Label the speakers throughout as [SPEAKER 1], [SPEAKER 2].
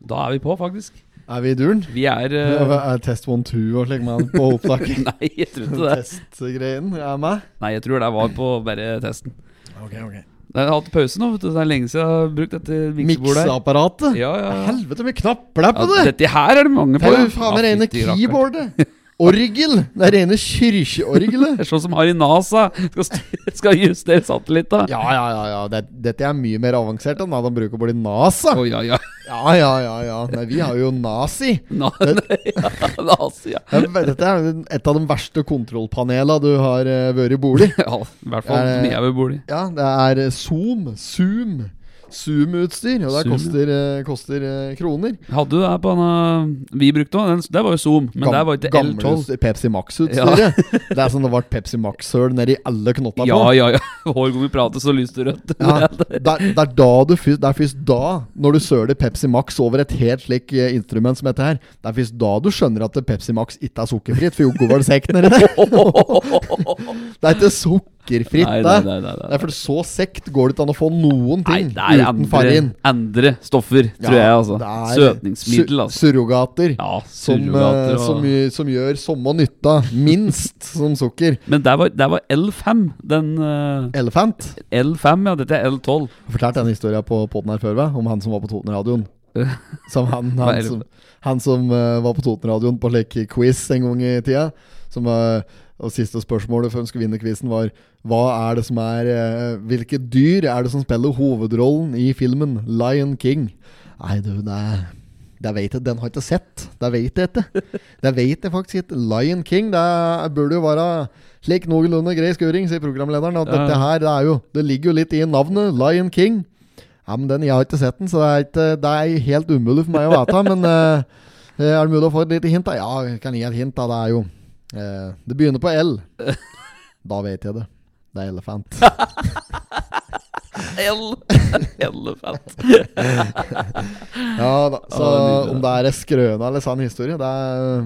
[SPEAKER 1] Da er vi på, faktisk.
[SPEAKER 2] Er vi i duren?
[SPEAKER 1] Vi er
[SPEAKER 2] Ja,
[SPEAKER 1] eh,
[SPEAKER 2] hva er test one two og slik man på opptaket?
[SPEAKER 1] Nei, jeg tror ikke det.
[SPEAKER 2] Testgreien er meg?
[SPEAKER 1] Nei, jeg tror det var på bare testen.
[SPEAKER 2] Ok, ok
[SPEAKER 1] Jeg har hatt pause nå, vet du. så Det er lenge siden jeg har brukt dette miksebordet. her.
[SPEAKER 2] Mikseapparatet?
[SPEAKER 1] Ja, ja. ja.
[SPEAKER 2] Helvete, mye knapper det er på
[SPEAKER 1] ja,
[SPEAKER 2] det!
[SPEAKER 1] dette her er det mange
[SPEAKER 2] Det
[SPEAKER 1] på.
[SPEAKER 2] er jo
[SPEAKER 1] ja.
[SPEAKER 2] faen
[SPEAKER 1] Ja,
[SPEAKER 2] det rene
[SPEAKER 1] fytti rakkeren.
[SPEAKER 2] keyboardet! Orgel! Det er rene kirkeorgelet!
[SPEAKER 1] Det er sånn som Harry Nasa skal, styre- skal justere satellitter.
[SPEAKER 2] Ja, ja, ja. ja. Det, dette er mye mer avansert enn hva de bruker på de NASA.
[SPEAKER 1] Å, ja, ja.
[SPEAKER 2] Ja, ja, ja. ja Nei, vi har jo Nazi.
[SPEAKER 1] Na, ja, Nasa, ja.
[SPEAKER 2] Jeg vet- Dette er et av de verste kontrollpanelene du har eh, vært i bolig.
[SPEAKER 1] ja. I hvert fall
[SPEAKER 2] Er
[SPEAKER 1] som
[SPEAKER 2] det-
[SPEAKER 1] jeg vil bo i.
[SPEAKER 2] Ja, det er eh, Zoom. Zoom. Zoom-utstyr. Og
[SPEAKER 1] Zoom,
[SPEAKER 2] det
[SPEAKER 1] ja.
[SPEAKER 2] koster, eh, koster eh, kroner.
[SPEAKER 1] Hadde du det på denne vi brukte òg? Den- Det var jo Zoom, men
[SPEAKER 2] Gam-
[SPEAKER 1] der var ikke
[SPEAKER 2] gammel
[SPEAKER 1] L12.
[SPEAKER 2] utstyr- Pepsi Max-utstyret. det er sånn det ble Pepsi Max-høl nedi alle knotta
[SPEAKER 1] Ja,
[SPEAKER 2] på.
[SPEAKER 1] ja, ja. Hver gang vi prater, så lyser det rødt.
[SPEAKER 2] Ja, det, er, det er da du fyrst, Det er først da, når du søler Pepsi Max over et helt slik eh, instrument som dette her, det er først da du skjønner at Pepsi Max ikke er sukkerfritt, for jo går det sekk nedi der. Det er ikke sukkerfritt,
[SPEAKER 1] Nei,
[SPEAKER 2] det.
[SPEAKER 1] nei, nei, nei, nei.
[SPEAKER 2] Det er for så sekt går det ikke an å få noen
[SPEAKER 1] Nei,
[SPEAKER 2] ting
[SPEAKER 1] det er
[SPEAKER 2] uten
[SPEAKER 1] andre,
[SPEAKER 2] farin.
[SPEAKER 1] andre stoffer, tror jeg, altså. Søtningsmiddel, altså.
[SPEAKER 2] Surrogater.
[SPEAKER 1] Ja,
[SPEAKER 2] Som, eh,
[SPEAKER 1] surrogater og
[SPEAKER 2] som, gj- som gjør samme nytta, minst, som sukker.
[SPEAKER 1] Men der var, der var L5. Den eh,
[SPEAKER 2] Elefant.
[SPEAKER 1] L5, ja. Dette er L12.
[SPEAKER 2] Jeg har fortalt denne historien på podden her før, hva? om han som var på Toten-radioen. Som han,
[SPEAKER 1] Hva er
[SPEAKER 2] han
[SPEAKER 1] det?
[SPEAKER 2] som, han som eh, var på Toten-radioen på lek quiz en gang i tida. Som var, og Siste spørsmålet før han skulle vinne quizen, var Hva er det som er eh, Hvilke dyr er det som spiller hovedrollen i filmen Lion King? Nei, du, det er det vet jeg, Den har jeg ikke sett. Det vet jeg ikke. Det vet jeg faktisk ikke. Lion King det burde jo være slik noenlunde grei skuring, sier programlederen. At
[SPEAKER 1] Ja.
[SPEAKER 2] dette her, det, er jo, det ligger jo litt i navnet. Lion King. Ja, men den, Jeg har ikke sett den, så det er, ikke, det er helt umulig for meg å vite. Men eh, er det mulig å få et lite hint? da? Ja, jeg kan gi et hint. da, Det er jo eh, Det begynner på L. Da vet jeg det. Det er elefant.
[SPEAKER 1] L. Elefant.
[SPEAKER 2] Ja da,
[SPEAKER 1] Ja, det
[SPEAKER 2] Så
[SPEAKER 1] er nydelig,
[SPEAKER 2] om det er en skrøne eller sann historie, det er,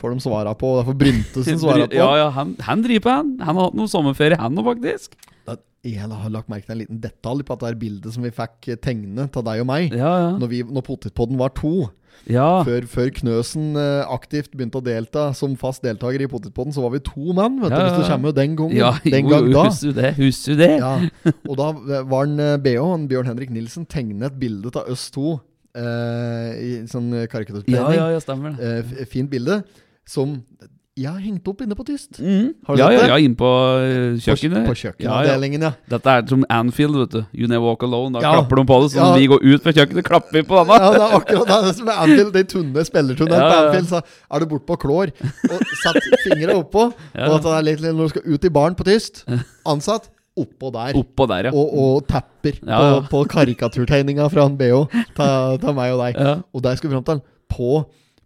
[SPEAKER 2] får de svara på. Det får Bryntesen svara på.
[SPEAKER 1] Ja, ja, han, han driver på, han. Han har hatt noe sommerferie, han nå, faktisk.
[SPEAKER 2] at jeg har lagt merke til en liten detalj på at det her bildet som vi fikk tegne av deg og meg
[SPEAKER 1] Ja, ja.
[SPEAKER 2] når, vi, når Potetpodden var to,
[SPEAKER 1] ja.
[SPEAKER 2] før, før Knøsen eh, aktivt begynte å delta som fast deltaker i Potetpodden, så var vi to mann, vet du,
[SPEAKER 1] Ja, ja,
[SPEAKER 2] hvis du
[SPEAKER 1] ja.
[SPEAKER 2] kommer jo den gangen.
[SPEAKER 1] Ja,
[SPEAKER 2] den
[SPEAKER 1] jo,
[SPEAKER 2] gang
[SPEAKER 1] jo,
[SPEAKER 2] da.
[SPEAKER 1] Husker du det? Husker du det?
[SPEAKER 2] Ja, og da var eh, en BH, en Bjørn Henrik Nilsen, tegnet et bilde av oss to eh, i sånn
[SPEAKER 1] ja,
[SPEAKER 2] karikaturtegning.
[SPEAKER 1] ja, ja, stemmer det.
[SPEAKER 2] Eh, f- fint bilde, som jeg har hengt opp inne på tyst.
[SPEAKER 1] Mm.
[SPEAKER 2] Har du
[SPEAKER 1] ja,
[SPEAKER 2] sett
[SPEAKER 1] ja,
[SPEAKER 2] det?
[SPEAKER 1] ja, inn på eh, kjøkkenet. Ja,
[SPEAKER 2] På, på
[SPEAKER 1] ja.
[SPEAKER 2] kjøkkenavdelingen, ja.
[SPEAKER 1] Dette er som Anfield, vet du. You never walk alone. Da
[SPEAKER 2] Ja.
[SPEAKER 1] klapper de på det. Så når
[SPEAKER 2] Ja.
[SPEAKER 1] vi går ut fra kjøkkenet, klapper vi på denne.
[SPEAKER 2] Ja, det er akkurat det er som med Anfield. De tunne spillertunnene
[SPEAKER 1] Ja,
[SPEAKER 2] på
[SPEAKER 1] ja, ja.
[SPEAKER 2] Anfield, så er du bortpå klår og satt fingre oppå.
[SPEAKER 1] Ja.
[SPEAKER 2] Og at det er litt når du skal ut i baren på tyst, ansatt oppå der.
[SPEAKER 1] Oppå der, ja.
[SPEAKER 2] Og, og tapper
[SPEAKER 1] Ja, ja.
[SPEAKER 2] på, på karikaturtegninga fra han BH til meg og deg.
[SPEAKER 1] ja.
[SPEAKER 2] Og der skal vi fram til på,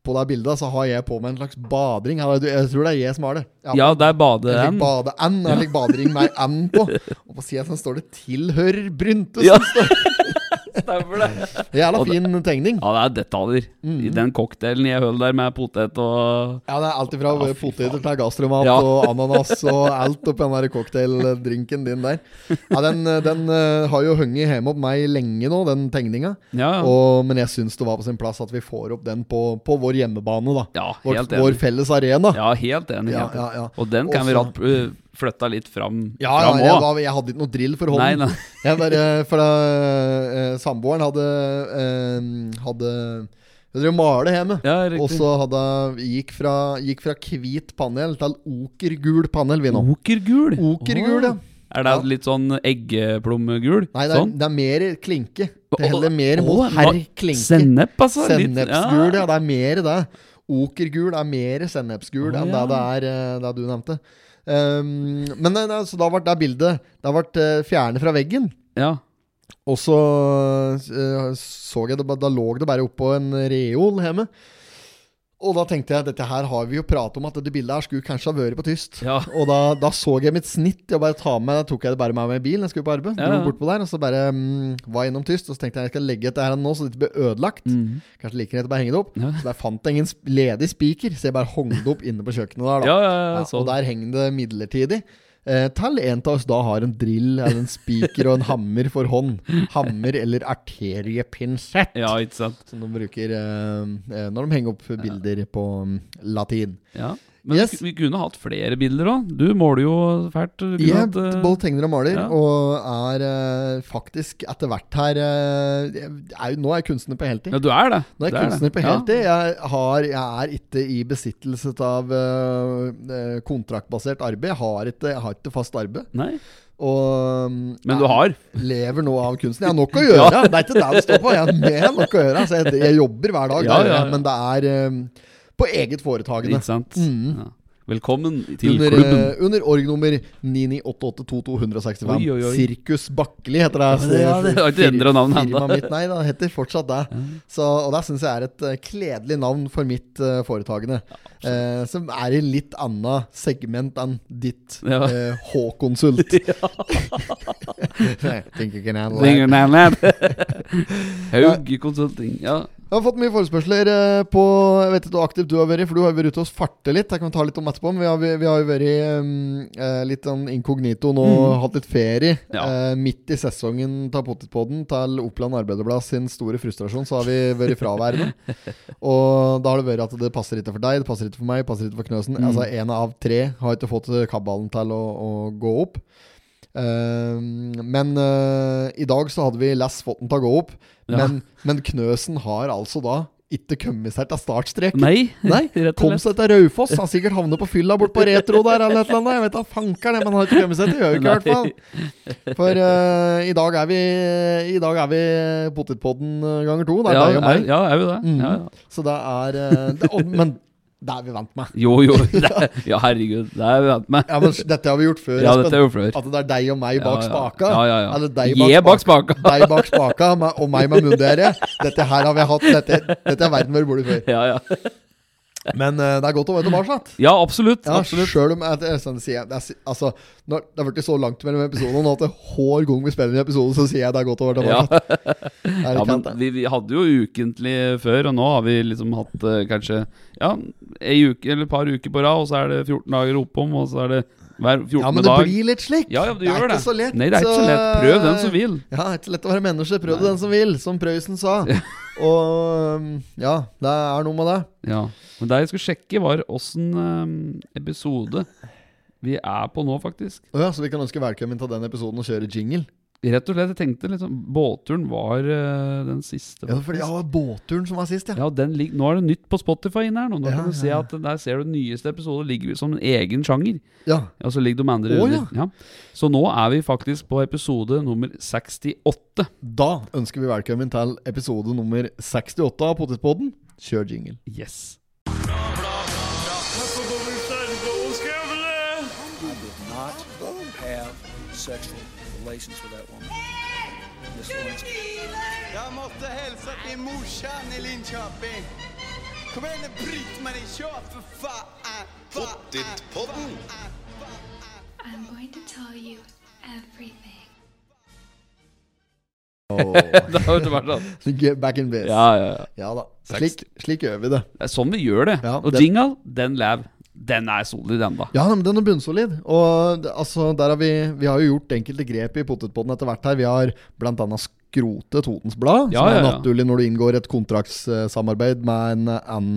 [SPEAKER 2] på det bildet så har jeg på meg en slags badring. Her, du- Jeg tror det er jeg som har det. Jeg har
[SPEAKER 1] Ja, der
[SPEAKER 2] jeg
[SPEAKER 1] bader
[SPEAKER 2] fikk
[SPEAKER 1] han.
[SPEAKER 2] bade-and, jeg fikk badering med and på. Og på sida står det 'Tilhører Brynte'.
[SPEAKER 1] Ja. Stemmer det.
[SPEAKER 2] Jævla
[SPEAKER 1] Og det-
[SPEAKER 2] fin tegning.
[SPEAKER 1] Ja, det er detaljer.
[SPEAKER 2] Mm.
[SPEAKER 1] I den cocktailen jeg høl der med potet og
[SPEAKER 2] Ja, det er alt ifra
[SPEAKER 1] Ja, fy
[SPEAKER 2] poteter til gastromat
[SPEAKER 1] Ja.
[SPEAKER 2] og ananas og alt oppi den der cocktaildrinken din der. Ja, Den, eh, den eh, har jo hengt hjemme opp meg lenge nå, den tegninga.
[SPEAKER 1] Ja, ja.
[SPEAKER 2] Og, men jeg syns det var på sin plass at vi får opp den på, på vår hjemmebane, da.
[SPEAKER 1] ja
[SPEAKER 2] Vår,
[SPEAKER 1] helt
[SPEAKER 2] vår
[SPEAKER 1] enig.
[SPEAKER 2] felles arena.
[SPEAKER 1] Ja, helt enig.
[SPEAKER 2] Ja,
[SPEAKER 1] Helt enig.
[SPEAKER 2] ja, ja.
[SPEAKER 1] Og den kan vi
[SPEAKER 2] Også-
[SPEAKER 1] ratt eh, flytta litt fram
[SPEAKER 2] Ja, ja,
[SPEAKER 1] fram
[SPEAKER 2] jeg,
[SPEAKER 1] også.
[SPEAKER 2] var, jeg hadde ikke noe drill for
[SPEAKER 1] Nei,
[SPEAKER 2] hånden.
[SPEAKER 1] nei.
[SPEAKER 2] Jeg bare, for da, eh, Samboeren hadde eh, Hadde Hun drev og malte hjemme.
[SPEAKER 1] Ja,
[SPEAKER 2] Og
[SPEAKER 1] riktig.
[SPEAKER 2] så hadde, gikk, fra, gikk fra hvit panel til okergul panel, vi nå.
[SPEAKER 1] Okergul.
[SPEAKER 2] Okergul, ja.
[SPEAKER 1] Åh. Er det
[SPEAKER 2] Ja.
[SPEAKER 1] litt sånn eggeplommegul?
[SPEAKER 2] Nei, det er,
[SPEAKER 1] sånn?
[SPEAKER 2] det er mer klinke. Det
[SPEAKER 1] Å,
[SPEAKER 2] heller mer
[SPEAKER 1] å,
[SPEAKER 2] mot
[SPEAKER 1] det var
[SPEAKER 2] herr klinke.
[SPEAKER 1] Sennep, altså? litt-
[SPEAKER 2] Sennepsgul, ja. Det er mer det. Okergul er mer sennepsgul
[SPEAKER 1] Å,
[SPEAKER 2] enn det
[SPEAKER 1] ja.
[SPEAKER 2] det er eh, det du nevnte. Um, men nei, nei, så da ble det bildet Det ble eh, fjernet fra veggen.
[SPEAKER 1] Ja.
[SPEAKER 2] Og så eh, så jeg det, ba- da lå det bare oppå en reol hjemme. Og da tenkte jeg dette her har vi jo pratet om, at dette bildet her skulle kanskje ha vært på tyst.
[SPEAKER 1] ja.
[SPEAKER 2] Og da, da så jeg mitt snitt. Jeg bare tar med, da tok jeg det bare med meg i bilen. Jeg skulle på arbeid.
[SPEAKER 1] Ja,
[SPEAKER 2] Dro
[SPEAKER 1] ja.
[SPEAKER 2] bort på der, og så bare mm, var jeg innom tyst. Og så tenkte jeg jeg skal legge dette her nå, så det ikke blir ødelagt.
[SPEAKER 1] Mhm.
[SPEAKER 2] Kanskje like greit å bare henge det opp.
[SPEAKER 1] Ja.
[SPEAKER 2] Så der fant jeg ingen sp- ledig spiker, så jeg bare hong det opp inne på kjøkkenet der. da.
[SPEAKER 1] ja, ja, ja,
[SPEAKER 2] Ja,
[SPEAKER 1] sånn.
[SPEAKER 2] og der henger det midlertidig. Eh, til en av oss da har en drill eller en spiker og en hammer for hånd. Hammer eller arteriepinsett,
[SPEAKER 1] Ja, ikke sant?
[SPEAKER 2] som de bruker eh, eh, når de henger opp bilder på mm, latin.
[SPEAKER 1] Ja. Men
[SPEAKER 2] Yes.
[SPEAKER 1] vi kunne hatt flere bilder òg. Du måler jo fælt. Du kunne
[SPEAKER 2] Jeg
[SPEAKER 1] hatt, eh,
[SPEAKER 2] både tegner og maler,
[SPEAKER 1] ja.
[SPEAKER 2] og er eh, faktisk etter hvert her eh, jeg er, jo- Nå er jeg kunstner på heltid.
[SPEAKER 1] ja, du er det.
[SPEAKER 2] Nå er
[SPEAKER 1] Du
[SPEAKER 2] jeg kunstner på
[SPEAKER 1] Ja.
[SPEAKER 2] heltid. Jeg, har, jeg er ikke i besittelse av eh, eh, kontraktbasert arbeid. Jeg har ikke, jeg har ikke fast arbeid.
[SPEAKER 1] Nei.
[SPEAKER 2] Og mm,
[SPEAKER 1] Men du
[SPEAKER 2] jeg
[SPEAKER 1] har.
[SPEAKER 2] lever nå av kunsten. Jeg har nok å gjøre! Det er ikke det det står på. Jeg har mer enn nok å gjøre. Altså, jeg, jeg jobber hver dag,
[SPEAKER 1] Ja,
[SPEAKER 2] det gjør
[SPEAKER 1] ja,
[SPEAKER 2] jeg,
[SPEAKER 1] ja.
[SPEAKER 2] men det er eh, på eget foretagende.
[SPEAKER 1] Ikke sant?
[SPEAKER 2] Mm.
[SPEAKER 1] Ja. Velkommen til
[SPEAKER 2] Under,
[SPEAKER 1] klubben.
[SPEAKER 2] eh, under org-nummer 99882265.
[SPEAKER 1] Oi, oi, oi.
[SPEAKER 2] Sirkus Bakkeli heter det.
[SPEAKER 1] Ja, det har ikke
[SPEAKER 2] Fir-
[SPEAKER 1] endret navnet enda.
[SPEAKER 2] firmaet mitt, Nei, det heter fortsatt det. Så, og det syns jeg er et eh, kledelig navn for mitt eh, foretagende. eh, som er i litt annet segment enn ditt
[SPEAKER 1] Ja.
[SPEAKER 2] eh, H-konsult. Nei, think you can handle that.
[SPEAKER 1] Ingen annen. Haug Consulting. Ja.
[SPEAKER 2] Jeg har fått mye forespørsler eh, på Jeg vet ikke hvor aktiv du har vært, for du har jo vært ute og farte litt. Det kan vi ta litt om etterpå, men vi har, vi har jo vært mm, eh, litt sånn inkognito nå, hatt litt ferie.
[SPEAKER 1] Ja.
[SPEAKER 2] Eh, midt i sesongen til Potetpodden til Oppland Arbeiderblad sin store frustrasjon, så har vi vært fraværende. og da har det vært at det passer ikke for deg, det passer ikke for meg, det passer ikke for Knøsen. Altså én av tre har ikke fått eh, kabalen til å, å gå opp. Eh, men eh, i dag så hadde vi Lass fått den til å gå opp.
[SPEAKER 1] Ja.
[SPEAKER 2] Men, men Knøsen har altså da ikke kommet seg til startstreken.
[SPEAKER 1] Nei,
[SPEAKER 2] Nei,
[SPEAKER 1] rett og
[SPEAKER 2] Kom
[SPEAKER 1] slett.
[SPEAKER 2] seg til Raufoss. Han sikkert havnet på fylla bort på Retro der eller et eller annet. Jeg vet da fanker det, men han har ikke kommet seg til Gjøvik i hvert fall. For eh, i dag er vi I dag er vi Potetpodden eh, ganger to. Det er
[SPEAKER 1] Ja,
[SPEAKER 2] deg og
[SPEAKER 1] er,
[SPEAKER 2] meg.
[SPEAKER 1] ja, er vi det?
[SPEAKER 2] Mm.
[SPEAKER 1] Ja, ja.
[SPEAKER 2] Så det er eh, det, og, Men det er vi vant med.
[SPEAKER 1] Jo, jo. det- Ja, herregud. Det er vi vant med.
[SPEAKER 2] Ja, men dette har vi gjort før,
[SPEAKER 1] Ja, dette
[SPEAKER 2] Espen.
[SPEAKER 1] er jo flør.
[SPEAKER 2] At det er deg og meg bak spaka.
[SPEAKER 1] Ja, ja, ja.
[SPEAKER 2] Eller deg
[SPEAKER 1] Jeg
[SPEAKER 2] bak
[SPEAKER 1] bak
[SPEAKER 2] spaka.
[SPEAKER 1] spaka.
[SPEAKER 2] Deg bak spaka meg- og meg med munndiaré. Dette her har vi hatt. Dette, dette er verden vår bor før.
[SPEAKER 1] Ja, ja.
[SPEAKER 2] Men eh, det er godt å være tilbake. sant?
[SPEAKER 1] ja, absolutt.
[SPEAKER 2] Ja,
[SPEAKER 1] absolutt.
[SPEAKER 2] selv om jeg, det er sånn jeg, sier, det er, si- altså, når det har blitt så langt mellom episodene nå at det hver gang vi spiller en episode, så sier jeg det er godt å være
[SPEAKER 1] Ja.
[SPEAKER 2] tilbake. Det er
[SPEAKER 1] Ja,
[SPEAKER 2] litt
[SPEAKER 1] men
[SPEAKER 2] kjent, det.
[SPEAKER 1] vi, vi hadde jo ukentlig før, og nå har vi liksom hatt eh, kanskje ja, ei uke eller et par uker på rad, og så er det 14 dager oppom, og så er det hver 14.
[SPEAKER 2] ja, men det
[SPEAKER 1] dag.
[SPEAKER 2] blir litt slik.
[SPEAKER 1] Ja, ja, det
[SPEAKER 2] er
[SPEAKER 1] gjør
[SPEAKER 2] ikke
[SPEAKER 1] det.
[SPEAKER 2] så lett.
[SPEAKER 1] Nei, det er ikke så lett. Prøv den som vil.
[SPEAKER 2] Ja, det er ikke så lett å være menneske. Prøv det den som vil, som Prøysen sa. Og um, ja, det er noe med det.
[SPEAKER 1] Ja. Men det jeg skulle sjekke, var åssen eh, episode vi er på nå, faktisk.
[SPEAKER 2] Å ja, så vi kan ønske velkommen til den episoden og kjøre jingle.
[SPEAKER 1] Rett og slett, jeg tenkte liksom Båtturen var eh, den siste.
[SPEAKER 2] Ja, for det var båtturen som var sist, ja.
[SPEAKER 1] Ja, den lig- Nå er det nytt på Spotify inne her. Nå, nå
[SPEAKER 2] Ja,
[SPEAKER 1] kan du se
[SPEAKER 2] ja, ja.
[SPEAKER 1] at Der ser du nyeste episode ligger som en egen sjanger.
[SPEAKER 2] Ja,
[SPEAKER 1] Ja, så ligger de andre
[SPEAKER 2] Å,
[SPEAKER 1] under.
[SPEAKER 2] ja.
[SPEAKER 1] Ja. Så nå er vi faktisk på episode nummer 68.
[SPEAKER 2] Da ønsker vi velkommen til episode nummer 68 av Potetpodden. Kjør jingle.
[SPEAKER 1] Yes.
[SPEAKER 3] not have sexual relations with that woman. Miss Lewinsky.
[SPEAKER 4] Jag måste hälsa till morsan i Linköping. Kom igen nu Britt-Marie, kör för fan! Pottitpodden!
[SPEAKER 5] I'm going to tell you everything.
[SPEAKER 1] Det har jo vært sånn.
[SPEAKER 2] Get back in biz.
[SPEAKER 1] Ja, ja, ja.
[SPEAKER 2] Ja da.
[SPEAKER 1] Seks.
[SPEAKER 2] Slik, slik gjør vi det.
[SPEAKER 1] Det er sånn vi gjør det.
[SPEAKER 2] Ja,
[SPEAKER 1] og
[SPEAKER 2] det-
[SPEAKER 1] jingle, den lav. Den er solid, den, da.
[SPEAKER 2] Ja, men den er bunnsolid. Og det- altså, der har vi, vi har jo gjort enkelte grep i potetpodden etter hvert her. Vi har bl.a. skrotet Totens Blad,
[SPEAKER 1] Ja,
[SPEAKER 2] som
[SPEAKER 1] ja,
[SPEAKER 2] er
[SPEAKER 1] ja.
[SPEAKER 2] naturlig når du inngår et kontraktssamarbeid med en, en,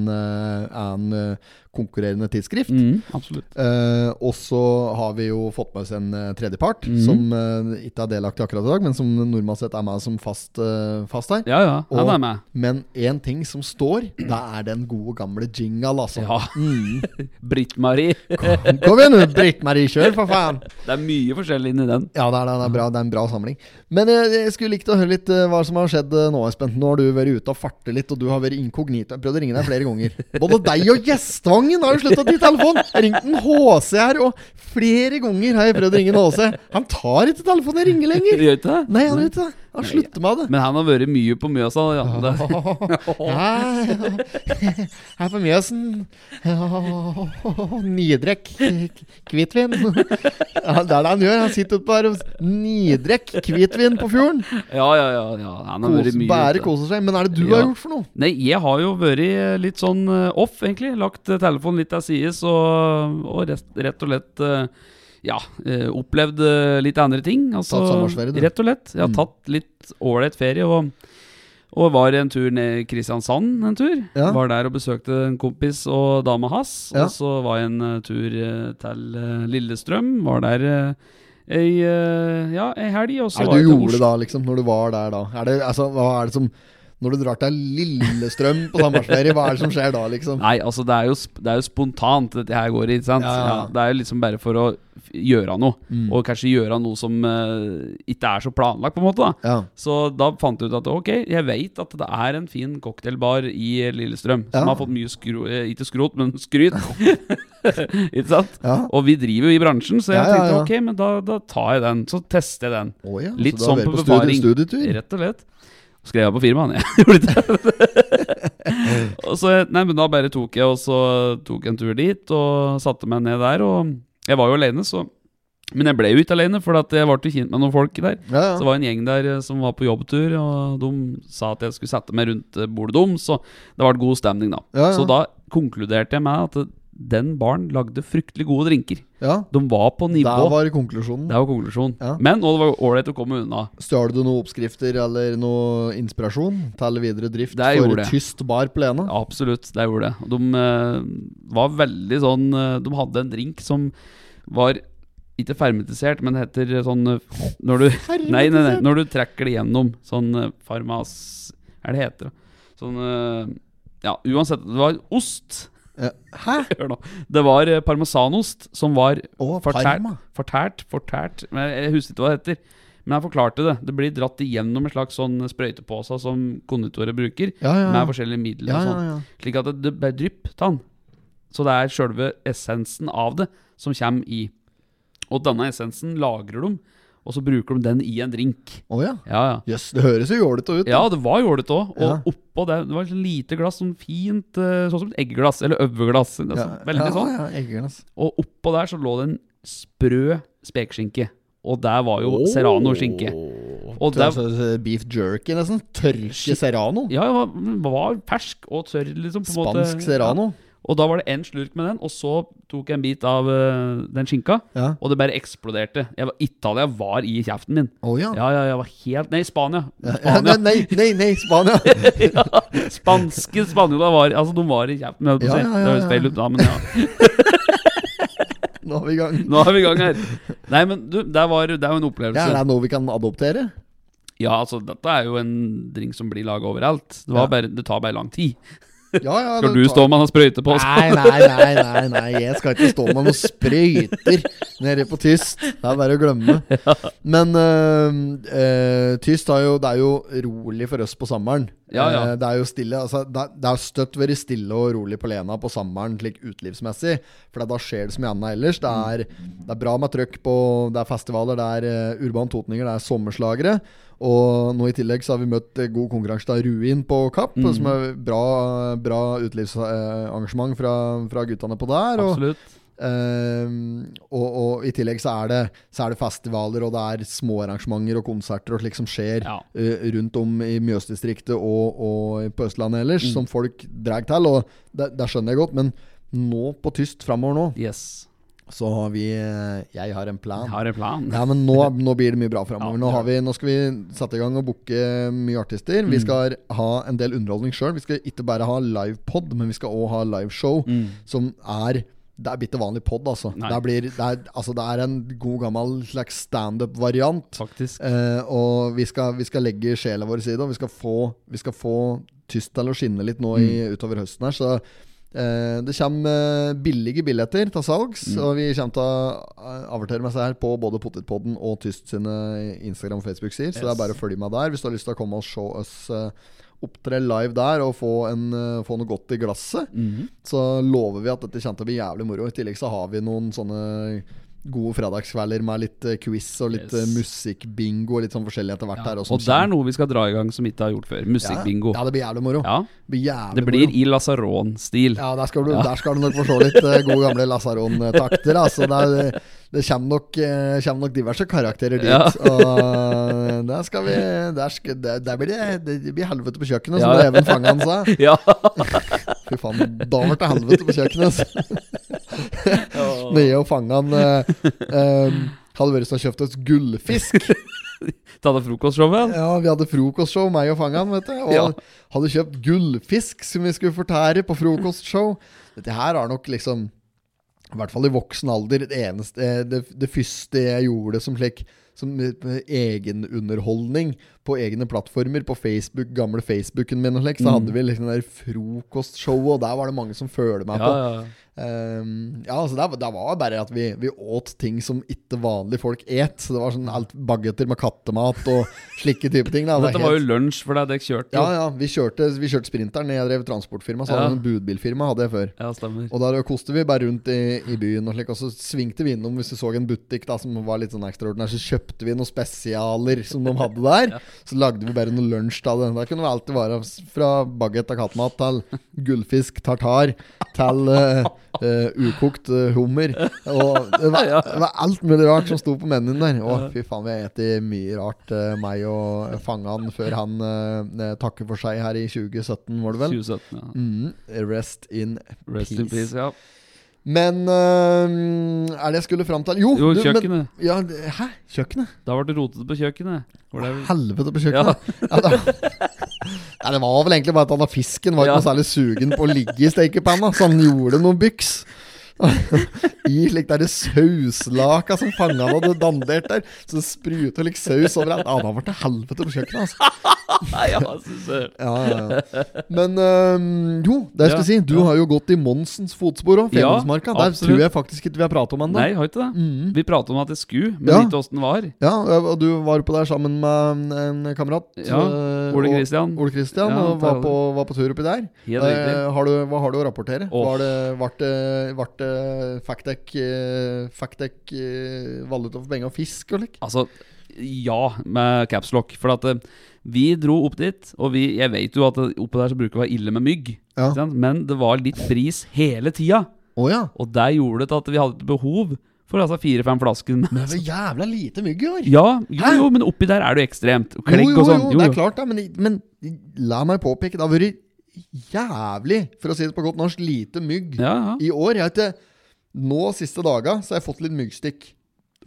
[SPEAKER 2] en eh, konkurrerende tidsskrift.
[SPEAKER 1] Mm, absolutt.
[SPEAKER 2] Eh, og så har vi jo fått med oss en eh, tredjepart,
[SPEAKER 1] Mm.
[SPEAKER 2] som eh, ikke er delaktig akkurat i dag, men som normalt sett er med som fast, eh, fast her.
[SPEAKER 1] Ja, ja. Han
[SPEAKER 2] Og-
[SPEAKER 1] er med.
[SPEAKER 2] Men én ting som står, det er den gode gamle jingle, altså.
[SPEAKER 1] Ja.
[SPEAKER 2] Mm.
[SPEAKER 1] Britt-Marie.
[SPEAKER 2] Kom igjen, nå, Britt-Marie, kjør, for faen!
[SPEAKER 1] Det er mye forskjellig inni den.
[SPEAKER 2] Ja, det er, det, det, er bra, det er en bra samling. Men eh, jeg skulle likt å høre litt eh, hva som har skjedd eh, nå, Espen. Nå har du vært ute og fartet litt, og du har vært inkognito. Jeg prøvde å ringe deg flere ganger. Både deg og Gjestvangen har jo slutta å ta telefonen! Jeg har ringt en HC her, og flere ganger har jeg prøvd å ringe en HC. Han tar ikke telefonen jeg ringer lenger!
[SPEAKER 1] Gjør ikke det?
[SPEAKER 2] Nei, han gjør ikke det. Han slutter med det.
[SPEAKER 1] Men han har vært mye på Mjøsa. Ja. Det,
[SPEAKER 2] Ja, her på Mjøsen. Nydrekk hvitvin. Ja, det er det han gjør. Han sitter oppe her og s- Nydrekk hvitvin på fjorden.
[SPEAKER 1] ja, ja, ja, ja. Han har
[SPEAKER 2] Kose,
[SPEAKER 1] vært mye
[SPEAKER 2] bare
[SPEAKER 1] ute.
[SPEAKER 2] koser seg. Men er det du
[SPEAKER 1] Ja.
[SPEAKER 2] har gjort for noe?
[SPEAKER 1] Nei, jeg har jo vært eh, litt sånn eh, off, egentlig. Lagt eh, telefonen litt til sides og, og rest, rett og slett eh, ja, eh, opplevd eh, litt andre ting. Altså,
[SPEAKER 2] Tatt sommerferie, du.
[SPEAKER 1] rett og lett. Jeg har
[SPEAKER 2] Mm.
[SPEAKER 1] tatt litt ålreit ferie. Og, og var en tur ned i Kristiansand en tur.
[SPEAKER 2] Ja.
[SPEAKER 1] Var der og besøkte en kompis og dama hans.
[SPEAKER 2] Ja.
[SPEAKER 1] Og så var jeg en eh, tur eh, til eh, Lillestrøm. Var der eh, ei, eh, ja, ei helg. Og så
[SPEAKER 2] Hva er
[SPEAKER 1] var
[SPEAKER 2] det
[SPEAKER 1] jeg
[SPEAKER 2] du
[SPEAKER 1] til
[SPEAKER 2] gjorde
[SPEAKER 1] Oslo.
[SPEAKER 2] da, liksom, når du var der da? Er det, altså, hva er det som Når du drar til Lillestrøm på sommerferie, hva er det som skjer da, liksom?
[SPEAKER 1] Nei, altså det er, jo, sp- det er jo spontant dette her går i, ikke sant?
[SPEAKER 2] Ja, ja, Mm. ja.
[SPEAKER 1] det er jo liksom bare for å f- gjøre noe. Og kanskje gjøre noe som eh, ikke er så planlagt, på en måte. da
[SPEAKER 2] Ja.
[SPEAKER 1] Så da fant jeg ut at ok, jeg vet at det er en fin cocktailbar i Lillestrøm. Som
[SPEAKER 2] Ja.
[SPEAKER 1] har fått mye skro... eh, Ikke skrot, men skryt. ikke sant?
[SPEAKER 2] Ja.
[SPEAKER 1] Og vi driver jo i bransjen, så jeg
[SPEAKER 2] Ja, ja,
[SPEAKER 1] tenkte
[SPEAKER 2] ja.
[SPEAKER 1] ok, men da, da tar jeg den. Så tester jeg den.
[SPEAKER 2] Å ja, så
[SPEAKER 1] Litt
[SPEAKER 2] du har
[SPEAKER 1] sånn
[SPEAKER 2] vært
[SPEAKER 1] på
[SPEAKER 2] studie-
[SPEAKER 1] befaring.
[SPEAKER 2] Studietur?
[SPEAKER 1] Rett og slett. Skrev jeg på firmaet, jeg gjorde ikke det. og så, nei, men da bare tok jeg og så tok jeg en tur dit og satte meg ned der. Og jeg var jo alene, så Men jeg ble jo ikke alene, for at jeg ble jo kjent med noen folk der.
[SPEAKER 2] Ja,
[SPEAKER 1] Så det
[SPEAKER 2] ja.
[SPEAKER 1] var en gjeng der eh, som var på jobbtur, og de sa at jeg skulle sette meg rundt eh, bordet deres, så det ble god stemning, da.
[SPEAKER 2] Ja, ja.
[SPEAKER 1] Så da konkluderte jeg med at eh, den baren lagde fryktelig gode drinker.
[SPEAKER 2] ja.
[SPEAKER 1] De var på nivå.
[SPEAKER 2] Der var konklusjonen.
[SPEAKER 1] Det var konklusjonen.
[SPEAKER 2] Ja.
[SPEAKER 1] Men og det var ålreit å komme unna.
[SPEAKER 2] Stjal du noen oppskrifter eller noe inspirasjon til videre drift
[SPEAKER 1] Det
[SPEAKER 2] for
[SPEAKER 1] gjorde jeg.
[SPEAKER 2] tyst bar på Lena?
[SPEAKER 1] Ja, Absolutt, det gjorde det. Og de eh, var veldig sånn eh, De hadde en drink som var ikke fermentisert, men heter sånn eh, Når du, nei, nei, nei, når du trekker det gjennom sånn eh, farmas... Hva er det heter? da? Sånn eh, Ja, uansett. Det var ost.
[SPEAKER 2] Eh, Hæ?
[SPEAKER 1] Hør nå. Det var eh, parmesanost som var
[SPEAKER 2] Å,
[SPEAKER 1] fortært,
[SPEAKER 2] Parma.
[SPEAKER 1] fortært, fortært Men Jeg jeg husker ikke hva det heter. Men jeg forklarte det. Det blir dratt igjennom en slags sånn sprøytepose som konditorer bruker,
[SPEAKER 2] Ja, ja, ja.
[SPEAKER 1] med forskjellige midler
[SPEAKER 2] Ja,
[SPEAKER 1] og
[SPEAKER 2] ja,
[SPEAKER 1] sånn.
[SPEAKER 2] ja.
[SPEAKER 1] Slik at det, det bare drypp ta den. Så det er sjølve essensen av det som kommer i. Og denne essensen lagrer de, og så bruker de den i en drink.
[SPEAKER 2] Å ja.
[SPEAKER 1] Ja, ja.
[SPEAKER 2] Jøss, det høres jo jålete ut.
[SPEAKER 1] Ja, det var jålete òg. Og
[SPEAKER 2] Ja.
[SPEAKER 1] oppå det Det var et lite glass, sånn fint eh, Sånn som et eggeglass, eller øveglass. eller
[SPEAKER 2] Ja,
[SPEAKER 1] sånn, Veldig sånn.
[SPEAKER 2] Ja, ja, eggeglass.
[SPEAKER 1] Og oppå der så lå det en sprø spekeskinke. Og der var jo serrano-skinke. Og
[SPEAKER 2] Det
[SPEAKER 1] der,
[SPEAKER 2] er altså beef jerky, nesten. Tørke serrano.
[SPEAKER 1] ja, ja, den var fersk og tørr, liksom. På en måte.
[SPEAKER 2] Spansk serrano.
[SPEAKER 1] Og da var det en slurk med den, og så tok jeg en bit av eh, den skinka,
[SPEAKER 2] Ja.
[SPEAKER 1] og det bare eksploderte. Jeg var, Italia var i kjeften min.
[SPEAKER 2] Å ja.
[SPEAKER 1] Ja, ja, jeg var helt Nei, Spania.
[SPEAKER 2] Ja, nei,
[SPEAKER 1] Spania.
[SPEAKER 2] nei, nei, nei, Spania!
[SPEAKER 1] ja, spanske spanjoler var Altså, de var i kjeften. holdt jeg på å si.
[SPEAKER 2] Ja, ja, ja,
[SPEAKER 1] Det høres
[SPEAKER 2] ja.
[SPEAKER 1] feil ut da, men ja.
[SPEAKER 2] Nå er vi i gang.
[SPEAKER 1] Nå er vi i gang her. Nei, men du, det, var, det er jo en opplevelse.
[SPEAKER 2] Ja, er det noe vi kan adoptere?
[SPEAKER 1] Ja, altså dette er jo en drink som blir laget overalt. Det, var
[SPEAKER 2] Ja.
[SPEAKER 1] bare, det tar bare lang tid.
[SPEAKER 2] Ja, ja,
[SPEAKER 1] Skal
[SPEAKER 2] det
[SPEAKER 1] du
[SPEAKER 2] tar-
[SPEAKER 1] stå med en sprøyte på? så-
[SPEAKER 2] Nei, nei, nei, nei, nei, jeg skal ikke stå med noen sprøyter nede på Tyst. Det er bare å glemme. Men øh, øh, Tyst har jo, det er jo rolig for oss på sommeren.
[SPEAKER 1] Ja, ja.
[SPEAKER 2] Eh, Det er jo stille, altså, det, er- det er støtt vært stille og rolig på Lena på sommeren, slik utelivsmessig. For da skjer det som i annet ellers. Det er, det er bra med trøkk på Det er festivaler, det er eh, urban totninger, det er sommerslagere. Og nå i tillegg så har vi møtt eh, god konkurranse av Ruin på Kapp,
[SPEAKER 1] Mm.
[SPEAKER 2] som er bra, bra utelivsarrangement fra, fra guttene på der. Og,
[SPEAKER 1] Absolutt.
[SPEAKER 2] Ehm, og, og i tillegg så er, det, så er det festivaler og det er småarrangementer og konserter og slik som skjer
[SPEAKER 1] Ja.
[SPEAKER 2] eh, rundt om i Mjøsdistriktet og, og på
[SPEAKER 1] Mm.
[SPEAKER 2] Østlandet ellers, som folk drar til. Og det, det skjønner jeg godt, men nå på tyst framover nå,
[SPEAKER 1] Yes.
[SPEAKER 2] så har vi eh, Jeg har en plan.
[SPEAKER 1] Jeg har en plan.
[SPEAKER 2] Ja, men nå, nå blir det mye bra
[SPEAKER 1] Ja,
[SPEAKER 2] framover.
[SPEAKER 1] Mm.
[SPEAKER 2] Nå,
[SPEAKER 1] det
[SPEAKER 2] har vi- nå skal vi sette i gang og booke mye artister. Vi skal ha en del underholdning sjøl. Vi skal ikke bare ha livepod, men vi skal òg ha liveshow, som er det er bitte vanlig pod, altså.
[SPEAKER 1] Mm. Nei.
[SPEAKER 2] Det, blir, det, er, altså. det er en god gammel slags standup-variant.
[SPEAKER 1] Faktisk.
[SPEAKER 2] Eh, og vi skal, vi skal legge sjela vår i side, og vi skal få, vi skal få tyst til å skinne litt nå i, utover høsten her. Så eh, det kommer eh, billige billetter til salgs, og vi kommer til å eh, avertere med seg her på både Potetpodden og Tyst sine Instagram- og Facebook-sider. Så det er bare å følge med der hvis du har lyst til å komme og se oss. Eh, Opptre live der og få, en, eh, få noe godt i glasset. Så lover vi at dette kommer til å bli jævlig moro. I tillegg så har vi noen sånne gode fredagskvelder med litt eh, quiz og litt
[SPEAKER 1] Yes.
[SPEAKER 2] yes. musikkbingo og litt sånn forskjellig etter hvert her.
[SPEAKER 1] og
[SPEAKER 2] som
[SPEAKER 1] det er
[SPEAKER 2] kommer.
[SPEAKER 1] noe vi skal dra i gang som vi ikke har gjort før. Musikkbingo.
[SPEAKER 2] sånn. Ja, ja, det blir jævlig moro.
[SPEAKER 1] Ja.
[SPEAKER 2] Det blir jævlig
[SPEAKER 1] Det blir
[SPEAKER 2] moro.
[SPEAKER 1] i lasaron-stil.
[SPEAKER 2] Ja, der skal, du, der skal du nok få se litt eh, gode gamle Lasaron-takter. Altså, det, er- det kommer nok, eh, kommer nok diverse karakterer dit.
[SPEAKER 1] Ja.
[SPEAKER 2] Og der skal vi Der, skal, der, der blir det, det blir helvete på kjøkkenet, som
[SPEAKER 1] Ja.
[SPEAKER 2] Even Fangan sa.
[SPEAKER 1] Ja.
[SPEAKER 2] Fy faen, da ble det helvete på kjøkkenet. altså. Vi og fanga han eh, eh, Hadde vært så kjøpt oss gullfisk.
[SPEAKER 1] Ta deg frokostshowet.
[SPEAKER 2] Ja, Vi hadde frokostshow, meg og fangan, vet du. Og
[SPEAKER 1] Ja.
[SPEAKER 2] hadde kjøpt gullfisk som vi skulle fortære på frokostshow. Dette her har nok liksom I hvert fall i voksen alder det eneste eh, Det, det første jeg gjorde som slik som eh, egenunderholdning på egne plattformer, på Facebook, gamle Facebooken min og slik, så hadde vi liksom det der frokostshowet, og der var det mange som følte meg
[SPEAKER 1] Ja,
[SPEAKER 2] på.
[SPEAKER 1] ja. ja.
[SPEAKER 2] Ehm, ja, altså det, det var bare at vi, vi åt ting som ikke vanlige folk et. Så det var sånn alt bagetter med kattemat og slike type ting. Da. Det
[SPEAKER 1] Dette var jo
[SPEAKER 2] helt-
[SPEAKER 1] lunsj for deg, dere kjørte jo.
[SPEAKER 2] ja, ja, vi kjørte, vi kjørte sprinteren. Jeg drev transportfirma, så
[SPEAKER 1] Ja.
[SPEAKER 2] hadde jeg en budbilfirma hadde jeg før.
[SPEAKER 1] Ja, stemmer.
[SPEAKER 2] Og der koste vi bare rundt i, i byen, og, slik, og så svingte vi innom hvis vi så en butikk da som var litt sånn ekstraordinær. Så kjøpte vi noen spesialer som de hadde der. Så lagde vi bare noe lunsj av det. Da kunne det alltid være fra bagett av kattemat til gullfisk tartar til eh, eh, ukokt eh, hummer. Og det var, det var alt mulig rart som sto på menyen der. Å, fy faen, vi har spist mye rart, eh, meg og fangan, før han eh, takker for seg her i 2017, var det vel?
[SPEAKER 1] 2017, ja.
[SPEAKER 2] Mm, rest in
[SPEAKER 1] Rest in
[SPEAKER 2] Peace.
[SPEAKER 1] peace. Ja.
[SPEAKER 2] men øhm, Er det jeg skulle fram til? Jo,
[SPEAKER 1] Jo,
[SPEAKER 2] du, men-
[SPEAKER 1] kjøkkenet.
[SPEAKER 2] ja, det- hæ? Kjøkkenet?
[SPEAKER 1] Det har vært rotete på kjøkkenet. Var det...
[SPEAKER 2] Helvete på kjøkkenet. Ja. da. Nei, det var vel egentlig bare at han av fisken var ikke
[SPEAKER 1] Ja.
[SPEAKER 2] noe særlig sugen på å ligge i stekepanna, så han gjorde noen byks. I slik der sauslaka som fanget han hadde dandert der. Så det spruta litt saus overalt. Ja, da ble det helvete på kjøkkenet, altså.
[SPEAKER 1] Nei, ja, jeg synes det.
[SPEAKER 2] Ja, ja, ja. Men øhm, jo, det jeg
[SPEAKER 1] Ja,
[SPEAKER 2] skulle si, du
[SPEAKER 1] ja.
[SPEAKER 2] har jo gått i Monsens fotspor òg,
[SPEAKER 1] Ja,
[SPEAKER 2] Femundsmarka. Der
[SPEAKER 1] absolutt.
[SPEAKER 2] tror jeg faktisk ikke vi har pratet om ennå.
[SPEAKER 1] Nei, har ikke det. Vi pratet om at jeg skulle, men
[SPEAKER 2] Mm. Ja.
[SPEAKER 1] ikke åssen den var.
[SPEAKER 2] Ja, og du var på der sammen med en kamerat.
[SPEAKER 1] Ja,
[SPEAKER 2] eh,
[SPEAKER 1] Ole
[SPEAKER 2] og-
[SPEAKER 1] Christian.
[SPEAKER 2] Ole Christian,
[SPEAKER 1] Ja,
[SPEAKER 2] og var
[SPEAKER 1] ta-
[SPEAKER 2] på, var på tur oppi der.
[SPEAKER 1] Helt
[SPEAKER 2] Eh,
[SPEAKER 1] riktig.
[SPEAKER 2] har du, hva har du å rapportere?
[SPEAKER 1] Åh.
[SPEAKER 2] Var det, vart det, vart det Factec, eh, Factec eh, valuta for penger og fisk og lik?
[SPEAKER 1] Altså, ja, med capslock. For at eh, vi dro opp dit, og vi, jeg vet jo at det- oppe der så bruker det å være ille med mygg.
[SPEAKER 2] Ja.
[SPEAKER 1] ikke sant? Men det var litt bris hele tida,
[SPEAKER 2] Å ja.
[SPEAKER 1] og det gjorde det til at vi hadde et behov for altså fire-fem flasker. med-
[SPEAKER 2] Men det er så jævla lite mygg i år.
[SPEAKER 1] Ja, jo,
[SPEAKER 2] Hæ?
[SPEAKER 1] jo, men oppi der er det jo ekstremt. og
[SPEAKER 2] Jo,
[SPEAKER 1] Klegg
[SPEAKER 2] jo,
[SPEAKER 1] og sånn.
[SPEAKER 2] jo, det er klart, det. Men, men la meg påpeke, det har vært jævlig, for å si det på godt norsk, lite mygg.
[SPEAKER 1] Ja, ja.
[SPEAKER 2] I år, jeg vet ikke Nå siste daga så har jeg fått litt myggstikk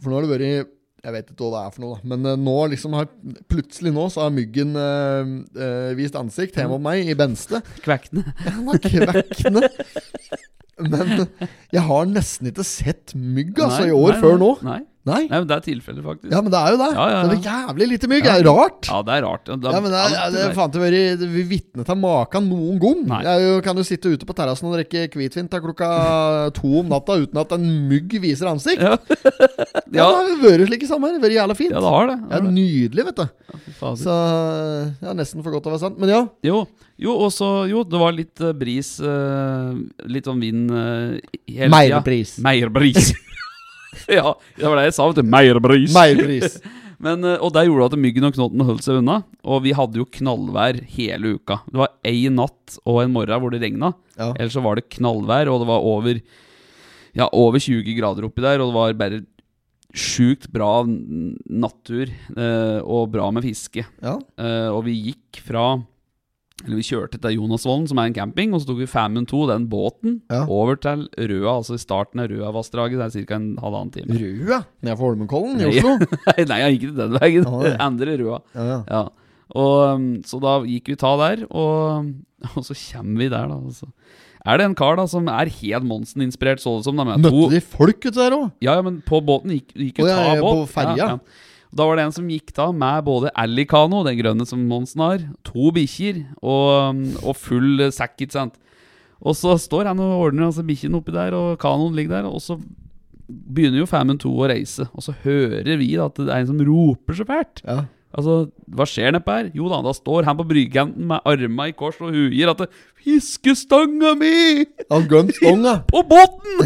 [SPEAKER 2] For nå har det vært Jeg vet ikke hva det er for noe da Men eh, nå liksom har Plutselig nå så har myggen eh, eh, Vist ansikt hjemme om meg i Benste
[SPEAKER 1] Kvekkene.
[SPEAKER 2] Den er kvekkende Men jeg har nesten ikke sett mygg altså
[SPEAKER 1] Nei,
[SPEAKER 2] i år
[SPEAKER 1] nei,
[SPEAKER 2] før nå
[SPEAKER 1] nei, Nei.
[SPEAKER 2] Nei
[SPEAKER 1] nei, men det er tilfellet, faktisk.
[SPEAKER 2] Ja, men det er jo det
[SPEAKER 1] Ja, ja, ja.
[SPEAKER 2] Det er jævlig lite mygg, det er rart
[SPEAKER 1] Ja, det er rart. Da-
[SPEAKER 2] ja, men det,
[SPEAKER 1] ja,
[SPEAKER 2] er- det, er faen til å være Vi vitne til maken noen gang.
[SPEAKER 1] Nei.
[SPEAKER 2] Jeg er jo, kan jo sitte ute på terrassen og drikke hvitvin til klokka to om natta uten at en mygg viser ansikt.
[SPEAKER 1] Ja.
[SPEAKER 2] Ja,
[SPEAKER 1] Ja.
[SPEAKER 2] Det har vært slik i sommer. Det har Vært jævla fint.
[SPEAKER 1] Ja, det har det.
[SPEAKER 2] det
[SPEAKER 1] Har
[SPEAKER 2] er
[SPEAKER 1] det.
[SPEAKER 2] nydelig, vet du.
[SPEAKER 1] Fy fader.
[SPEAKER 2] Så ja, Nesten for godt til å være sant. Men ja.
[SPEAKER 1] Jo, jo, og så Jo, det var litt eh, bris eh, Litt sånn vind eh, hele tida.
[SPEAKER 2] Meierbris.
[SPEAKER 1] Meierbris. ja, det var det jeg sa, vet du. Meierbris.
[SPEAKER 2] Meierbris.
[SPEAKER 1] Men, eh, og det gjorde at myggen og knotten holdt seg unna. Og vi hadde jo knallvær hele uka. Det var ei natt og en morgen hvor det regna.
[SPEAKER 2] Ja.
[SPEAKER 1] Ellers så var det knallvær, og det var over Ja, over 20 grader oppi der, og det var bare sjukt bra n- natur eh, og bra med fiske.
[SPEAKER 2] ja.
[SPEAKER 1] Eh, og vi gikk fra Eller vi kjørte til Jonasvollen, som er en camping, og så tok vi Famund 2, den båten,
[SPEAKER 2] Ja.
[SPEAKER 1] over til Røa, altså i starten av Røavassdraget. Det er ca. en halvannen time.
[SPEAKER 2] Røa nede for Holmenkollen i
[SPEAKER 1] Nei.
[SPEAKER 2] Oslo.
[SPEAKER 1] Nei, nei, jeg gikk ikke den veien.
[SPEAKER 2] Ja, det.
[SPEAKER 1] Endre Røa.
[SPEAKER 2] Ja, ja.
[SPEAKER 1] Ja. Og, um, så da gikk vi ta der, og, og så kommer vi der, da. og så Er det en kar da som er helt Monsen-inspirert, så det som? da med to-
[SPEAKER 2] Møtte de folk ute der òg?
[SPEAKER 1] ja, ja, men på båten gikk, gikk jo
[SPEAKER 2] Å, ja,
[SPEAKER 1] ta
[SPEAKER 2] ja,
[SPEAKER 1] båt.
[SPEAKER 2] på ferja.
[SPEAKER 1] Da var det en som gikk da med både Alicano, den grønne som Monsen har, to bikkjer og, um, og full eh, sekk, ikke sant. Og så står han og ordner altså bikkjen oppi der, og kanoen ligger der, og så begynner jo Famund 2 å reise, og så hører vi da at det er en som roper så fælt.
[SPEAKER 2] Ja.
[SPEAKER 1] Altså, hva skjer nedpå her? Jo da, da står han på brygganten med arma i kors og huier at det, 'Fiskestanga mi!'
[SPEAKER 2] Han glemte stonga.
[SPEAKER 1] på båten!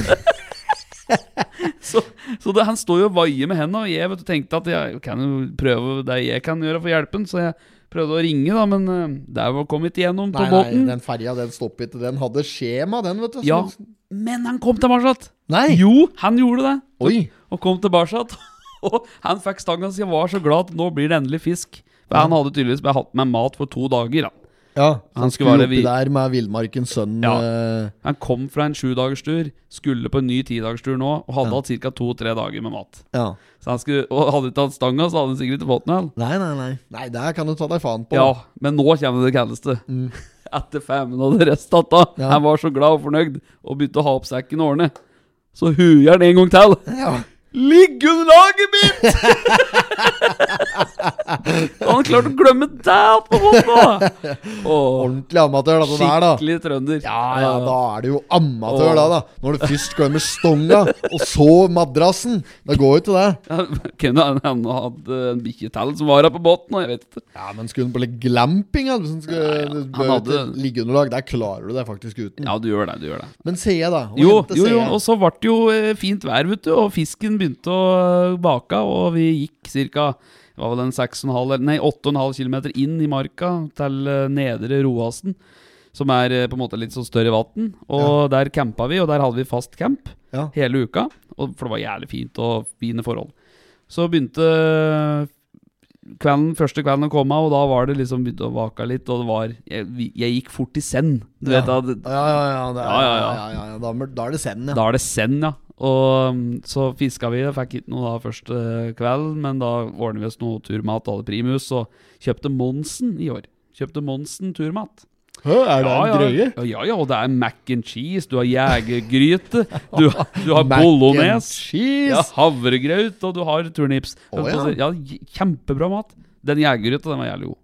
[SPEAKER 1] så så det, han står jo og vaier med hendene, og jeg vet, du, tenkte at jeg kan jo prøve det jeg kan gjøre for hjelpen, så jeg prøvde å ringe, da, men eh, der var kom ikke gjennom på
[SPEAKER 2] Nei, nei,
[SPEAKER 1] båten.
[SPEAKER 2] den ferja den stoppet ikke. Den hadde skjema, den, vet du.
[SPEAKER 1] ja,
[SPEAKER 2] Så-
[SPEAKER 1] men han kom tilbake! igjen.
[SPEAKER 2] Nei.
[SPEAKER 1] Jo, han gjorde det,
[SPEAKER 2] Oi.
[SPEAKER 1] og kom tilbake. igjen. Og han fikk stanga si og var så glad at nå blir det endelig fisk. For han hadde tydeligvis bare hatt med mat for to dager. Da.
[SPEAKER 2] Ja,
[SPEAKER 1] Han skulle være
[SPEAKER 2] oppi
[SPEAKER 1] vi-
[SPEAKER 2] der med villmarkens sønn.
[SPEAKER 1] Ja.
[SPEAKER 2] eh,
[SPEAKER 1] Han kom fra en sjudagerstur, skulle på en ny tidagerstur nå, og hadde
[SPEAKER 2] Ja.
[SPEAKER 1] hatt ca. to-tre dager med mat.
[SPEAKER 2] ja.
[SPEAKER 1] Så han skulle, og hadde ikke hatt stanga, så hadde han sikkert ikke fått den.
[SPEAKER 2] Nei, nei, nei. Nei, Det kan du ta deg faen på.
[SPEAKER 1] Ja, men nå kommer det kaldeste. Etter femmen og det resten av
[SPEAKER 2] Mm. Ja.
[SPEAKER 1] Han var så glad og fornøyd, og begynte å ha opp sekken og ordne. Så huger han en gang til.
[SPEAKER 2] Ja.
[SPEAKER 1] Ligg under laget mitt! han klarte å glemme deg på hånda! Åh,
[SPEAKER 2] Ordentlig amatør, dette der, da.
[SPEAKER 1] skikkelig trønder.
[SPEAKER 2] Ja, ja, da er du jo amatør,
[SPEAKER 1] Åh.
[SPEAKER 2] da, da. Når du først glemmer stonga, og så madrassen. Det går jo til det.
[SPEAKER 1] Ja, Kunne han han hadde en bikkje til som var her på båten, og jeg vet ikke.
[SPEAKER 2] Ja, Men skulle du på litt glamping? Eller, sånn, skulle, du bør
[SPEAKER 1] han
[SPEAKER 2] jo
[SPEAKER 1] hadde-
[SPEAKER 2] ikke liggeunderlag. Der klarer du deg faktisk uten.
[SPEAKER 1] Ja, du gjør det, du gjør det.
[SPEAKER 2] Men sier jeg, da. og
[SPEAKER 1] Jo,
[SPEAKER 2] hente
[SPEAKER 1] jo, jo,
[SPEAKER 2] sier jeg.
[SPEAKER 1] og så ble det jo eh, fint vær, vet du, og fisken begynte å eh, bake, og vi gikk ca. Det var vel en 6,5, eller- nei, 8,5 km inn i marka til eh, Nedre Roasen, som er eh, på en måte litt sånn større vann. Og der campa vi, og der hadde vi fast camp
[SPEAKER 2] Ja.
[SPEAKER 1] hele uka, og, for det var jævlig fint og fine forhold. Så begynte kvelden, første kvelden å komme, og da var det liksom begynte å vake litt, og det var Jeg, vi- jeg gikk fort i send, du vet da. det-
[SPEAKER 2] Ja, ja, ja. Det er,
[SPEAKER 1] Ja,
[SPEAKER 2] ja,
[SPEAKER 1] ja,
[SPEAKER 2] ja,
[SPEAKER 1] ja.
[SPEAKER 2] ja. ja. Da, mør- da er det send, ja.
[SPEAKER 1] Da er det send, ja. Og mm, så fiska vi, og fikk ikke noe da første kveld, men da ordnet vi oss noe turmat, alle primus, og kjøpte Monsen i år. Kjøpte Monsen turmat.
[SPEAKER 2] Hø, er det en drøye?
[SPEAKER 1] Ja, ja, ja, og det er mac and cheese, du har jegergryte, du, du har
[SPEAKER 2] Mac and
[SPEAKER 1] bolognese,
[SPEAKER 2] Cheese!
[SPEAKER 1] ja, havregrøt, og du har turnips. Altså,
[SPEAKER 2] Å, ja.
[SPEAKER 1] ja, kjempebra mat. Den jegergryta, den var jævlig god.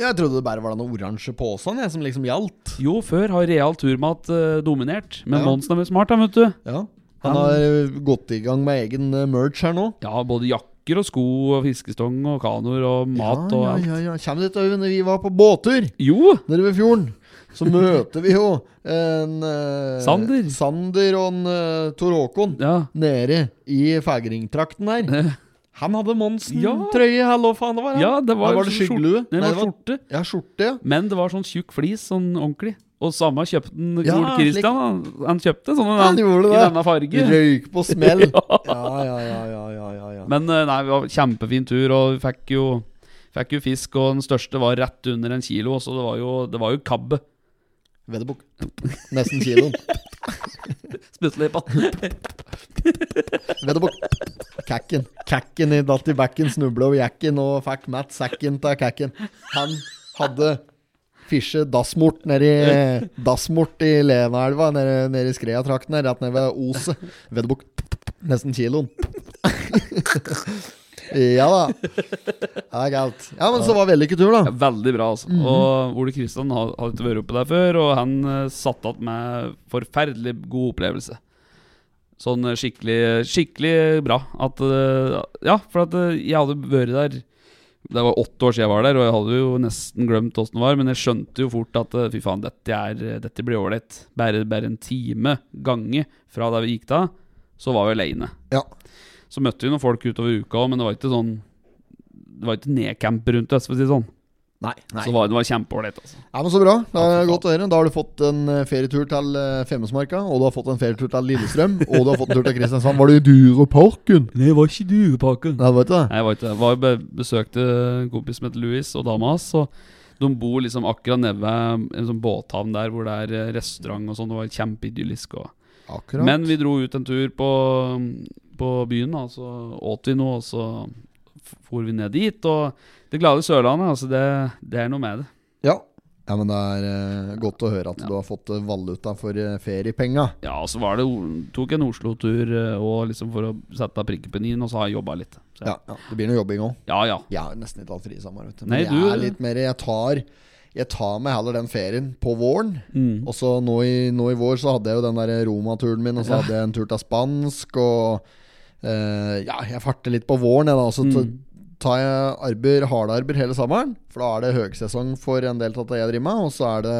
[SPEAKER 2] Jeg trodde det bare var den oransje posen jeg, som liksom gjaldt.
[SPEAKER 1] Jo, før har real turmat eh, dominert, men
[SPEAKER 2] Ja.
[SPEAKER 1] Monsen er veldig smart, da, vet du.
[SPEAKER 2] Ja. Han har eh, gått i gang med egen eh, merch her nå.
[SPEAKER 1] Ja, både jakker og sko og fiskestong og kanoer og mat og
[SPEAKER 2] ja,
[SPEAKER 1] alt.
[SPEAKER 2] ja, ja, ja. Kjem dit, Øyvind. Vi var på båttur
[SPEAKER 1] Jo!
[SPEAKER 2] nede ved fjorden. Så møter vi jo en eh,
[SPEAKER 1] Sander.
[SPEAKER 2] Sander og en eh, Tor Håkon
[SPEAKER 1] Ja.
[SPEAKER 2] nede i Fægeringtrakten der. Han hadde
[SPEAKER 1] Ja.
[SPEAKER 2] Monsen-trøye, eller hva faen det var? han?
[SPEAKER 1] ja, det var,
[SPEAKER 2] Eller var det
[SPEAKER 1] sånn skjort-
[SPEAKER 2] skyggelue?
[SPEAKER 1] Nei,
[SPEAKER 2] Nei,
[SPEAKER 1] det
[SPEAKER 2] det
[SPEAKER 1] var skjorte.
[SPEAKER 2] Ja, skjorte. ja.
[SPEAKER 1] Men det var sånn tjukk flis, sånn ordentlig. Og samme kjøpte den
[SPEAKER 2] Ja,
[SPEAKER 1] Ole
[SPEAKER 2] slik.
[SPEAKER 1] Kristian. Han, han kjøpte sånn en,
[SPEAKER 2] Han gjorde
[SPEAKER 1] i
[SPEAKER 2] det.
[SPEAKER 1] denne farge.
[SPEAKER 2] Røyk på smell. ja, ja, ja, ja, ja, ja, ja.
[SPEAKER 1] Men eh, nei, det var kjempefin tur, og vi fikk jo, fikk jo fisk. Og den største var rett under en kilo, så det var jo, det var jo kabbe.
[SPEAKER 2] Vedderbukk. Nesten kiloen.
[SPEAKER 1] Spyttelipa.
[SPEAKER 2] Vedderbukk. Kakken. Kakken i datt i bekken, snubla over jakken og fikk matt sekken til kakken. Han hadde fisje dassmort nedi Dassmort i Lenaelva, nedi, nedi Skreatrakten her, rett nede ved Oset. Vedderbukk. Nesten kiloen. ja da. Ja, det er galt. Ja, men så var vellykket tur, da.
[SPEAKER 1] Veldig bra, altså. Og Ole Kristian har- hadde ikke vært oppe der før, og han eh, satt igjen med forferdelig god opplevelse. Sånn eh, skikkelig skikkelig bra. At eh, Ja, for at eh, jeg hadde vært der Det var åtte år siden jeg var der, og jeg hadde jo nesten glemt åssen det var, men jeg skjønte jo fort at eh, fy faen, dette, er, dette blir ålreit. Bare, bare en time gange fra der vi gikk da, så var vi aleine.
[SPEAKER 2] Ja.
[SPEAKER 1] Så møtte vi noen folk utover uka òg, men det var ikke sånn Det var ikke nedcamp rundt oss, for å si det sånn.
[SPEAKER 2] Nei, nei.
[SPEAKER 1] Så var, det var kjempeålreit, altså.
[SPEAKER 2] Ja, men Så bra.
[SPEAKER 1] Ja,
[SPEAKER 2] Det
[SPEAKER 1] for
[SPEAKER 2] er
[SPEAKER 1] faen.
[SPEAKER 2] godt å høre. Da har du fått en eh, ferietur til eh, Femundsmarka, og du har fått en ferietur til Lillestrøm, og du har fått en tur til Kristiansand. Var du i Dyreparken?
[SPEAKER 1] Nei, det var ikke duepakken.
[SPEAKER 2] Nei, det var ikke det.
[SPEAKER 1] Mm. Nei, jeg var ikke det. Jeg var be besøkte en kompis som heter Louis, og dama hans. Og de bor liksom akkurat nede ved en sånn båthavn der hvor det er eh, restaurant og sånn. Det var kjempeidyllisk. Og...
[SPEAKER 2] Akkurat.
[SPEAKER 1] Men vi dro ut en tur på, på byen, da, så åt vi noe, og så f- for vi ned dit. Og det glade Sørlandet, altså, det, det er noe med det.
[SPEAKER 2] Ja. ja, men det er eh, godt å høre at du har fått eh, valuta for eh, feriepenga.
[SPEAKER 1] Ja, og så var det, o- tok en Oslo-tur eh, og liksom for å sette prikken på i-en, og så har jeg jobba litt. Så,
[SPEAKER 2] Ja, ja. Det blir noe jobbing òg.
[SPEAKER 1] ja, ja.
[SPEAKER 2] Jeg har nesten ikke hatt fri sammen. Vet du.
[SPEAKER 1] Nei,
[SPEAKER 2] Men
[SPEAKER 1] du-
[SPEAKER 2] jeg er litt mer Jeg tar jeg tar meg heller den ferien på våren.
[SPEAKER 1] Mm.
[SPEAKER 2] Og så nå i, nå i vår så hadde jeg jo den der Roma-turen min, og så hadde jeg en tur til spansk, og eh, Ja, jeg farter litt på våren, jeg da. Og så
[SPEAKER 1] Mm.
[SPEAKER 2] ta- tar jeg arbeid, hardarbeid hele sommeren, for da er det høgsesong for en del av det jeg driver med, og så er det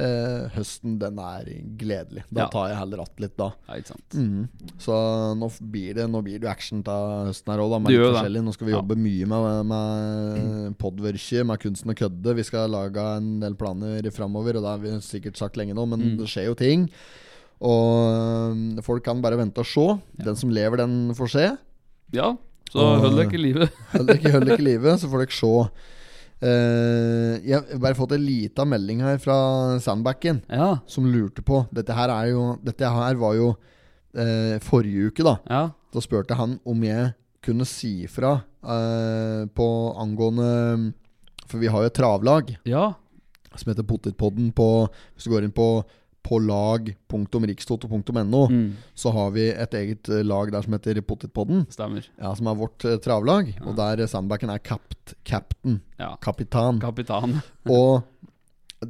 [SPEAKER 2] eh, høsten, den er gledelig. Da
[SPEAKER 1] Ja.
[SPEAKER 2] tar jeg heller att litt, da.
[SPEAKER 1] ja ikke
[SPEAKER 2] Mm.
[SPEAKER 1] sant.
[SPEAKER 2] Så nå f- blir det Nå blir det jo action av høsten her òg, da.
[SPEAKER 1] Det
[SPEAKER 2] Med litt
[SPEAKER 1] gjør det.
[SPEAKER 2] forskjellig. Nå skal vi
[SPEAKER 1] Ja.
[SPEAKER 2] jobbe mye med, med podverket, med kunsten å kødde. Vi skal lage en del planer framover, og det har vi sikkert sagt lenge nå, men
[SPEAKER 1] Mm.
[SPEAKER 2] det skjer jo ting. Og øhm, folk kan bare vente og se. Den som lever, den får se.
[SPEAKER 1] Ja, så
[SPEAKER 2] Og-
[SPEAKER 1] hold dere i live.
[SPEAKER 2] Hold dere ikke, hold dere ikke livet, så får dere se Eh, jeg har bare fått en lita melding her fra Sandbacken,
[SPEAKER 1] Ja.
[SPEAKER 2] som lurte på Dette her, er jo, dette her var jo eh, forrige uke, da.
[SPEAKER 1] Ja.
[SPEAKER 2] Da spurte han om jeg kunne si fra eh, på angående For vi har jo et travlag
[SPEAKER 1] Ja.
[SPEAKER 2] som heter Potetpodden på Hvis du går inn på på lag.rikstoto.no,
[SPEAKER 1] Mm.
[SPEAKER 2] så har vi et eget eh, lag der som heter Potetpodden.
[SPEAKER 1] Stemmer.
[SPEAKER 2] Ja, som er vårt eh, travlag, og der eh, Sandbacken er kapt, captain.
[SPEAKER 1] Ja.
[SPEAKER 2] Kapitan.
[SPEAKER 1] Kapitan.
[SPEAKER 2] Og eh,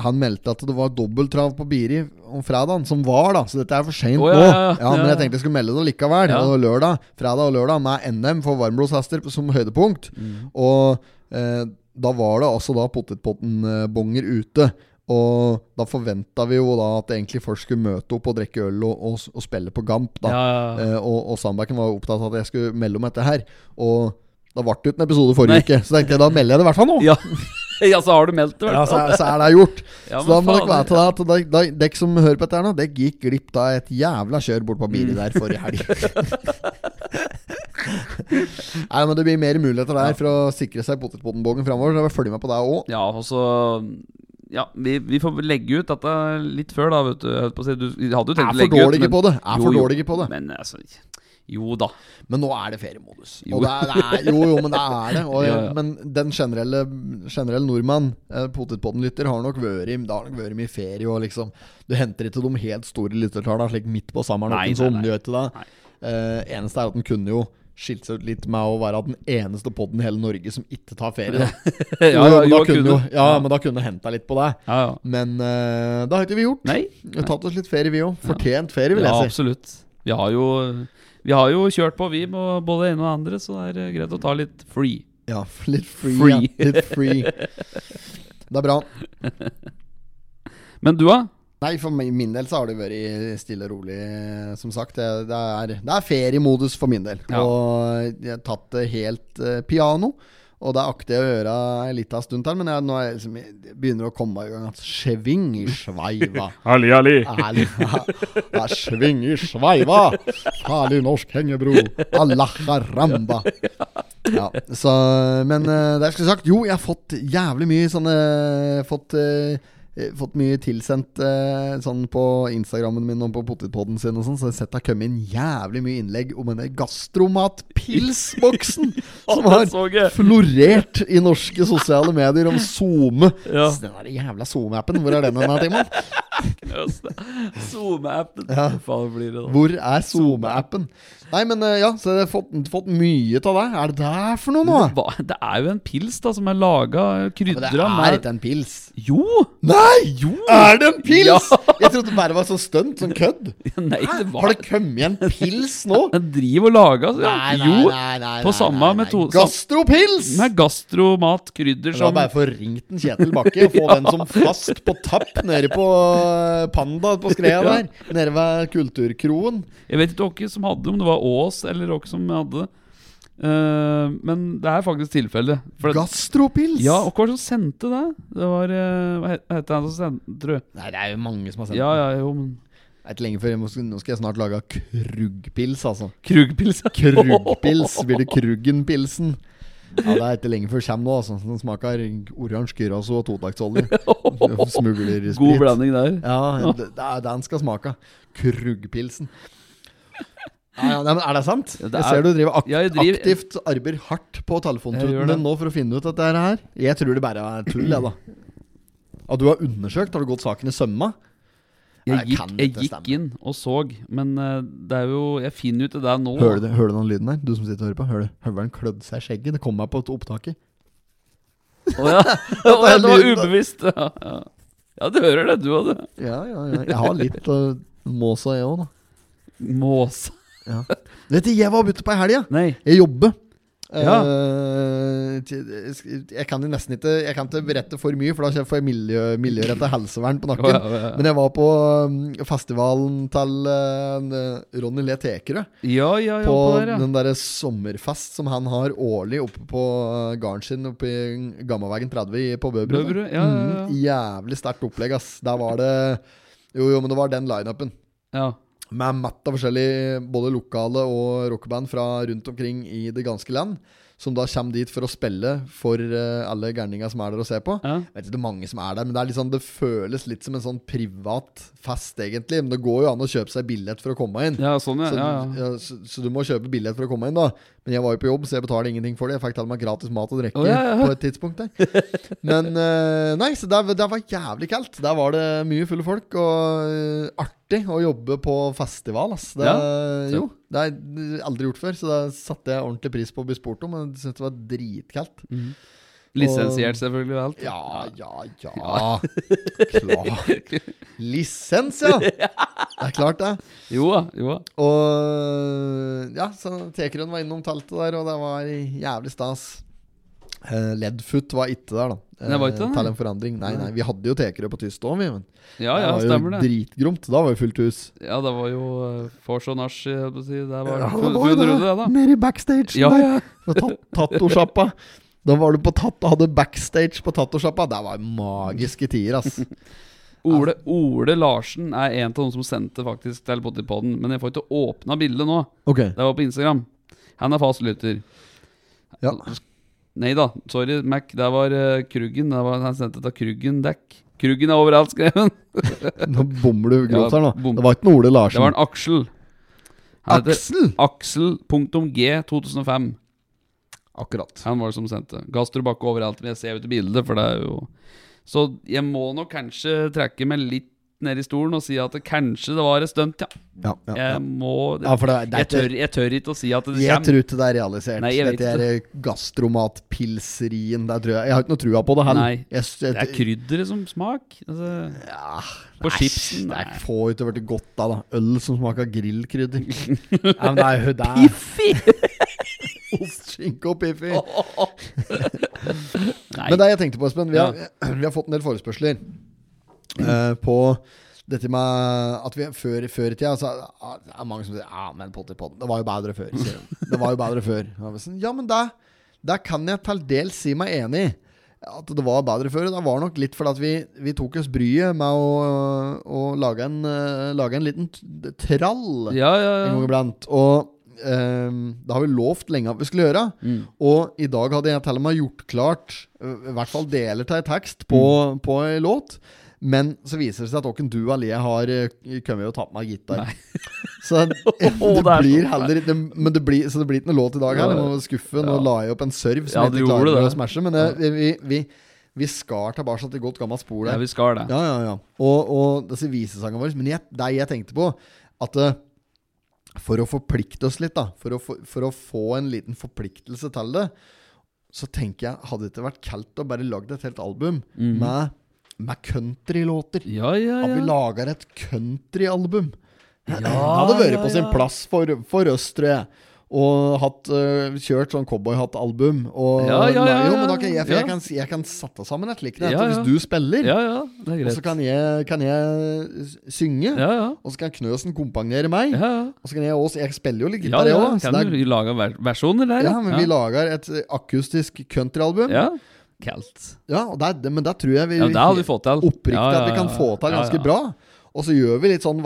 [SPEAKER 2] han meldte at det var dobbelttrav på Biri om fredagen, som var, da. Så dette er for seint
[SPEAKER 1] Å, ja,
[SPEAKER 2] nå.
[SPEAKER 1] ja, ja. Ja,
[SPEAKER 2] men
[SPEAKER 1] ja.
[SPEAKER 2] jeg tenkte jeg skulle melde det likevel.
[SPEAKER 1] Ja.
[SPEAKER 2] Og lørdag, fredag og lørdag med NM for varmblodshester som høydepunkt.
[SPEAKER 1] Mm.
[SPEAKER 2] Og eh, da var det altså da potetpotten-bonger ute. Og da forventa vi jo da at egentlig folk skulle møte opp og drikke øl og, og, og spille på Gamp. da
[SPEAKER 1] Ja, ja, ja.
[SPEAKER 2] Eh, og, og Sandbergen var jo opptatt av at jeg skulle melde om dette her. Og da ble det jo ikke en episode forrige
[SPEAKER 1] Nei.
[SPEAKER 2] uke, så tenkte jeg da melder jeg det i hvert fall nå.
[SPEAKER 1] Ja. ja, så har du meldt det, i
[SPEAKER 2] Ja,
[SPEAKER 1] hvert
[SPEAKER 2] så,
[SPEAKER 1] fall.
[SPEAKER 2] er, så er det gjort.
[SPEAKER 1] Ja,
[SPEAKER 2] så
[SPEAKER 1] men
[SPEAKER 2] da må
[SPEAKER 1] faen,
[SPEAKER 2] dere vite at da- da- dere som hører på dette her nå, dere gikk glipp av et jævla kjør bort på Biri der forrige helg. Nei, men Det blir mer muligheter der for å sikre seg potetpotenbongen framover. Så jeg vil følge med på deg òg.
[SPEAKER 1] Ja, og så Ja, vi, vi får legge ut dette litt før, da, vet du. Jeg holdt på å si, Du vi hadde jo
[SPEAKER 2] Er
[SPEAKER 1] tenkt å
[SPEAKER 2] for
[SPEAKER 1] legge ut
[SPEAKER 2] dårlige på det. Er for dårlige på det.
[SPEAKER 1] Men altså Jo da.
[SPEAKER 2] Men nå er det feriemodus.
[SPEAKER 1] Jo.
[SPEAKER 2] Og det er, det er, jo, jo, men det er det. Og,
[SPEAKER 1] Ja, ja.
[SPEAKER 2] Men den generelle, generelle nordmann, eh, potetpodden-lytter, har nok vært i- det har nok vært mye ferie. Og liksom, du henter ikke de helt store lyttertallene slik midt på sommeren.
[SPEAKER 1] Nei,
[SPEAKER 2] Nei,
[SPEAKER 1] nei,
[SPEAKER 2] som,
[SPEAKER 1] nei.
[SPEAKER 2] du vet det.
[SPEAKER 1] Nei.
[SPEAKER 2] Eh, eneste er at den kunne jo skilt seg ut litt med å være den eneste podden i hele Norge som ikke tar ferie. Da.
[SPEAKER 1] Ja, ja,
[SPEAKER 2] Jo, men
[SPEAKER 1] jo,
[SPEAKER 2] da kunne, jo-
[SPEAKER 1] kunne.
[SPEAKER 2] ja, men da kunne henta litt på deg.
[SPEAKER 1] Ja, ja.
[SPEAKER 2] Men eh, det har ikke vi gjort.
[SPEAKER 1] Nei.
[SPEAKER 2] Vi har tatt oss litt ferie, vi òg. Fortjent ferie, vil
[SPEAKER 1] Ja,
[SPEAKER 2] jeg si.
[SPEAKER 1] absolutt. Vi har jo Vi har jo kjørt på, vi, med både det ene og det andre, så det er eh, greit å ta litt free.
[SPEAKER 2] Ja, litt free.
[SPEAKER 1] Free.
[SPEAKER 2] Ja, litt free. Det er bra.
[SPEAKER 1] Men du, da?
[SPEAKER 2] Nei, for mi- min del så har det vært stille og rolig, som sagt. Det, det, er, det er feriemodus for min del.
[SPEAKER 1] Ja.
[SPEAKER 2] Og jeg har tatt det helt eh, piano. Og det akter jeg å gjøre en liten stund til, men jeg, nå er jeg liksom, jeg begynner å komme meg i gang. At Sving i sveiva.
[SPEAKER 1] Ali, Ali.
[SPEAKER 2] Ærlig. Ja, Sving i sveiva! Herlig norsk hengebro. Allah haramba. Ja, så, men eh, det jeg skulle sagt Jo, jeg har fått jævlig mye sånne Fått, eh, eh, fått mye tilsendt eh, sånn på Instagrammen min og på potetpodden sin og sånn, så jeg har sett det har kommet inn jævlig mye innlegg om denne gastromatpilsboksen som
[SPEAKER 1] Ja,
[SPEAKER 2] har
[SPEAKER 1] det så jeg.
[SPEAKER 2] florert i norske sosiale medier om SoMe.
[SPEAKER 1] Ja.
[SPEAKER 2] Så Den der jævla SoMe-appen, hvor er den hen, Timon?
[SPEAKER 1] SoMe-appen.
[SPEAKER 2] Ja.
[SPEAKER 1] Hva faen blir det, da?
[SPEAKER 2] Hvor er SoMe-appen? Nei, men eh, ja, så jeg har fått, fått mye av det. Er det der for noe nå?
[SPEAKER 1] Hva? Det er jo en pils da som er laga
[SPEAKER 2] Men
[SPEAKER 1] krydra
[SPEAKER 2] det er
[SPEAKER 1] med
[SPEAKER 2] ikke en pils.
[SPEAKER 1] Jo!
[SPEAKER 2] Nei!
[SPEAKER 1] Jo!
[SPEAKER 2] Er det en pils?!
[SPEAKER 1] Ja.
[SPEAKER 2] Jeg trodde det bare var sånn stunt, sånn kødd.
[SPEAKER 1] Nei, det
[SPEAKER 2] Har
[SPEAKER 1] var
[SPEAKER 2] det kommet en pils nå?
[SPEAKER 1] Den driver og lager altså. Jo! på samme metode-
[SPEAKER 2] Gastropils!
[SPEAKER 1] Med gastromat, krydder
[SPEAKER 2] La
[SPEAKER 1] som
[SPEAKER 2] bare få ringt en Kjetil Bakke og få den som fast på tapp nede på eh, Panda på skreia der. Nede ved Kulturkroen.
[SPEAKER 1] Jeg vet ikke hvem som hadde det, om det var Ås eller hvem som hadde det. Eh, men det er faktisk tilfellet. For det,
[SPEAKER 2] Gastropils!
[SPEAKER 1] ja, og hva var det som sendte det? Det var eh, Hva het- het han som sendte det, tror jeg?
[SPEAKER 2] Nei, det er jo mange som har sendt
[SPEAKER 1] Ja, ja, jo, men
[SPEAKER 2] Det er ikke lenge før jeg må, Nå skal jeg snart lage kruggpils, altså.
[SPEAKER 1] Krugpils.
[SPEAKER 2] Kruggpils blir det Kruggenpilsen. Ja, Det er ikke lenge før det kommer nå. altså Den smaker oransje gyros og totaktsolje. Smuglersprit.
[SPEAKER 1] God blanding der.
[SPEAKER 2] Ja, det, det er den skal smake. Kruggpilsen. Ja, ja, nei, men er det sant?
[SPEAKER 1] Ja, det
[SPEAKER 2] jeg
[SPEAKER 1] er-
[SPEAKER 2] ser du driver, ak
[SPEAKER 1] Ja, jeg driver-
[SPEAKER 2] aktivt arbeider hardt på
[SPEAKER 1] Jeg gjør
[SPEAKER 2] telefontuten
[SPEAKER 1] det.
[SPEAKER 2] din nå for å finne ut dette her. Jeg tror det bare er tull, jeg, da. Ja, du har undersøkt? Har du gått saken i sømma?
[SPEAKER 1] Jeg
[SPEAKER 2] Nei,
[SPEAKER 1] gikk,
[SPEAKER 2] kan
[SPEAKER 1] jeg
[SPEAKER 2] ikke
[SPEAKER 1] gikk
[SPEAKER 2] stemme.
[SPEAKER 1] inn og så, men eh, det er jo Jeg finner ut det der nå.
[SPEAKER 2] Hører du, det- hører du den lyden der? Du som sitter og hører på. Hører du høvelen klødde seg i skjegget? Det kom meg på opptaket.
[SPEAKER 1] Å ja. det
[SPEAKER 2] er
[SPEAKER 1] var- det var
[SPEAKER 2] lyden, da.
[SPEAKER 1] ubevisst. Ja, ja. ja, du hører det, du òg, du.
[SPEAKER 2] Ja, ja, ja. Jeg har litt uh, måsa, jeg òg, da.
[SPEAKER 1] Måse.
[SPEAKER 2] Vet du, jeg var ute på ei helg, jeg.
[SPEAKER 1] Nei.
[SPEAKER 2] Jeg jobber.
[SPEAKER 1] Ja.
[SPEAKER 2] Eh, til- jeg kan jo nesten ikke Jeg kan ikke berette for mye, for da får jeg miljø, miljøretta helsevern på nakken.
[SPEAKER 1] Å, ja, ja, ja.
[SPEAKER 2] Men jeg var på um, festivalen til eh, Ronny Le Tekerød.
[SPEAKER 1] Ja, ja, ja.
[SPEAKER 2] på
[SPEAKER 1] På der, ja.
[SPEAKER 2] den derre sommerfest som han har årlig oppe på eh, gården sin oppe i Gammaveien 30 i- på Bøbru.
[SPEAKER 1] Bøbru, ja, ja, ja.
[SPEAKER 2] Mm, jævlig sterkt opplegg, ass. Der var det Jo, jo, men det var den lineupen.
[SPEAKER 1] ja.
[SPEAKER 2] Med matt av forskjellig både lokale og rockeband fra rundt omkring i det ganske land. som da kommer dit for å spille for eh, alle gærninga som er der og ser på.
[SPEAKER 1] Ja.
[SPEAKER 2] Jeg vet ikke hvor mange som er der, men det, er litt sånn, det føles litt som en sånn privat fest, egentlig. Men det går jo an å kjøpe seg billett for å komme inn.
[SPEAKER 1] Ja, sånn, ja. ja,
[SPEAKER 2] Så, du-
[SPEAKER 1] ja.
[SPEAKER 2] ja, så, så du må kjøpe billett for å komme inn, da. Men jeg var jo på jobb, så jeg betaler ingenting for det. Jeg fikk til og med gratis mat og drikke
[SPEAKER 1] Å, ja, ja, ja.
[SPEAKER 2] på et tidspunkt der. Men eh, nei, så der, der var jævlig kaldt. Der var det mye fulle folk, og eh, artig å jobbe på festival, ass. Det,
[SPEAKER 1] Ja,
[SPEAKER 2] eh, jo, det har jeg aldri gjort før, så da satte jeg ordentlig pris på å bli spurt om. Men jeg syntes det var dritkaldt.
[SPEAKER 1] Mm. Lisensiert, selvfølgelig. og Alt.
[SPEAKER 2] Ja, ja, ja. Klart. Lisens, ja! Det er klart, det.
[SPEAKER 1] Jo da. Jo da.
[SPEAKER 2] Og ja, så Tekerøen var innom teltet der, og det var jævlig stas. Eh, Ledfoot var ikke der, da. Eh,
[SPEAKER 1] Nei, var ikke det, nei?
[SPEAKER 2] til en forandring. Nei, nei, vi hadde jo Tekerø på tyst òg, vi. Men
[SPEAKER 1] Ja, ja,
[SPEAKER 2] det var
[SPEAKER 1] stemmer
[SPEAKER 2] jo
[SPEAKER 1] det.
[SPEAKER 2] dritgromt. Da var jo fullt hus.
[SPEAKER 1] Ja, det var jo eh, vors og nach, jeg holdt på å si. Det var
[SPEAKER 2] Ja, det
[SPEAKER 1] full
[SPEAKER 2] var jo
[SPEAKER 1] full
[SPEAKER 2] det,
[SPEAKER 1] runde, det, da.
[SPEAKER 2] Nede i backstage.
[SPEAKER 1] Ja, ja.
[SPEAKER 2] Tattosjappa. Da var du på tatt hadde backstage på tattosjappa. Det var magiske tider, ass.
[SPEAKER 1] Ole, Ole Larsen er en av de som sendte faktisk til Potipodden, men jeg får ikke åpna bildet nå.
[SPEAKER 2] Ok,
[SPEAKER 1] Det var på Instagram. Han er fast lytter.
[SPEAKER 2] ja.
[SPEAKER 1] Nei da, sorry, Mac. Det var eh, Kruggen. Det var, han sendte til Kruggen Dekk. Kruggen er overalt skrevet.
[SPEAKER 2] Nå bommer du grovt her, nå.
[SPEAKER 1] bom.
[SPEAKER 2] Det var ikke noe Ole
[SPEAKER 1] Det var
[SPEAKER 2] Larsen.
[SPEAKER 1] en Aksel. Han heter
[SPEAKER 2] Aksel!
[SPEAKER 1] Aksel.g2005.
[SPEAKER 2] Akkurat.
[SPEAKER 1] Han var det som sendte. Gastrobakke overalt. Men jeg ser jo ikke bildet, for det er jo Så jeg må nok kanskje trekke meg litt ned i stolen og si at det kanskje det var et stunt, ja.
[SPEAKER 2] Ja, ja, ja.
[SPEAKER 1] Jeg må
[SPEAKER 2] Ja, for det,
[SPEAKER 1] Eh, jeg,
[SPEAKER 2] det er ikke
[SPEAKER 1] tør, jeg tør ikke å si at det
[SPEAKER 2] Jeg
[SPEAKER 1] kommer.
[SPEAKER 2] tror ikke det er realisert.
[SPEAKER 1] Nei, jeg vet
[SPEAKER 2] Dette er gastromatpilserien. Der tror jeg. jeg har ikke noe trua på det heller.
[SPEAKER 1] Nei,
[SPEAKER 2] jeg, s- jeg,
[SPEAKER 1] Det er krydderet som smak. Altså,
[SPEAKER 2] ja,
[SPEAKER 1] på
[SPEAKER 2] nei,
[SPEAKER 1] chipsen.
[SPEAKER 2] Det
[SPEAKER 1] nei.
[SPEAKER 2] er få ut over til godt av, da. Øl som smaker grillkrydder. ja, men det er jo det. Ost, skinke og piffi.
[SPEAKER 1] Nei.
[SPEAKER 2] Men det jeg tenkte på, Espen, vi har, vi har fått en del forespørsler eh, på dette med at vi før, før i tida så er det er mange som sier Ja, men pott i pott, det var jo bedre før. Sier de. Det var jo bedre før. Ja, men sånn, Ja, men det, det kan jeg til dels si meg enig i. At det var bedre før. og Det var nok litt fordi at vi, vi tok oss bryet med å, å lage, en, eh, lage en liten t- trall
[SPEAKER 1] Ja, ja,
[SPEAKER 2] en gang
[SPEAKER 1] ja.
[SPEAKER 2] iblant. Og ehm, det har vi lovt lenge at vi skulle gjøre.
[SPEAKER 1] Mm.
[SPEAKER 2] Og i dag hadde jeg til og med gjort klart øh, i hvert fall deler til en tekst på,
[SPEAKER 1] Mm.
[SPEAKER 2] på en låt. Men så viser det seg at åkken du alene har øh, kommet og tatt med gitar. Så det,
[SPEAKER 1] Åh, det er
[SPEAKER 2] blir
[SPEAKER 1] så
[SPEAKER 2] heller ikke men det blir, Så det blir ikke noe låt i dag her. Jeg må skuffe. Nå la jeg opp en serv som
[SPEAKER 1] Ja,
[SPEAKER 2] jeg
[SPEAKER 1] du
[SPEAKER 2] ikke
[SPEAKER 1] gjorde
[SPEAKER 2] klarer å
[SPEAKER 1] det.
[SPEAKER 2] smashe. Men jeg, vi, vi, vi skar tilbake til godt gammelt spor
[SPEAKER 1] ja,
[SPEAKER 2] der.
[SPEAKER 1] vi skal det.
[SPEAKER 2] Ja, ja, ja. Og, og disse visesangene våre. Men jeg, det jeg tenkte på, at eh, for å forplikte oss litt, da, for å, få- for å få en liten forpliktelse til det, så tenker jeg, hadde det ikke vært kaldt å bare lage et helt album med, med countrylåter?
[SPEAKER 1] Ja, Mhm. ja,
[SPEAKER 2] At vi
[SPEAKER 1] ja.
[SPEAKER 2] lager et countryalbum. det hadde vært på sin plass for, for oss, tror jeg. Og hatt, eh, kjørt sånn cowboyhattalbum. Og,
[SPEAKER 1] Ja, ja, ja,
[SPEAKER 2] Jo, men da kan jeg, for
[SPEAKER 1] ja.
[SPEAKER 2] jeg, kan, jeg kan sette sammen et slikt et.
[SPEAKER 1] Ja,
[SPEAKER 2] og
[SPEAKER 1] ja.
[SPEAKER 2] Hvis du spiller,
[SPEAKER 1] Ja, ja, det er
[SPEAKER 2] og
[SPEAKER 1] greit.
[SPEAKER 2] så kan jeg, kan jeg synge,
[SPEAKER 1] Ja, ja.
[SPEAKER 2] og så kan Knøsen kompagnere meg.
[SPEAKER 1] Ja,
[SPEAKER 2] Og så kan jeg også Jeg spiller jo litt
[SPEAKER 1] ja. ja,
[SPEAKER 2] gitar, jeg
[SPEAKER 1] ja.
[SPEAKER 2] også, så det
[SPEAKER 1] Kan
[SPEAKER 2] er-
[SPEAKER 1] du lage ver versjoner der?
[SPEAKER 2] Ja, men vi lager et eh, akustisk countryalbum. Ja.
[SPEAKER 1] Ja. Kaldt.
[SPEAKER 2] og det er- men det tror jeg vi
[SPEAKER 1] Ja, det hadde vi fått til.
[SPEAKER 2] oppriktig
[SPEAKER 1] Ja, ja,
[SPEAKER 2] at vi kan
[SPEAKER 1] ja,
[SPEAKER 2] få til
[SPEAKER 1] ja, ja.
[SPEAKER 2] ganske bra. Og så gjør vi litt sånn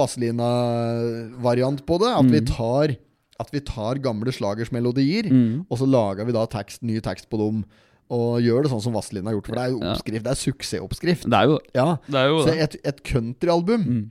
[SPEAKER 2] Vazelina-variant på det. At, vi
[SPEAKER 1] Mm.
[SPEAKER 2] tar, at vi tar gamle slagers melodier,
[SPEAKER 1] Mm.
[SPEAKER 2] og så lager vi da tekst, ny tekst på dem. Og gjør det sånn som Vazelina har gjort. For det er jo oppskrift, det er suksessoppskrift.
[SPEAKER 1] Det er jo
[SPEAKER 2] Ja,
[SPEAKER 1] det. Er jo Mm.
[SPEAKER 2] så
[SPEAKER 1] det.
[SPEAKER 2] et, et countryalbum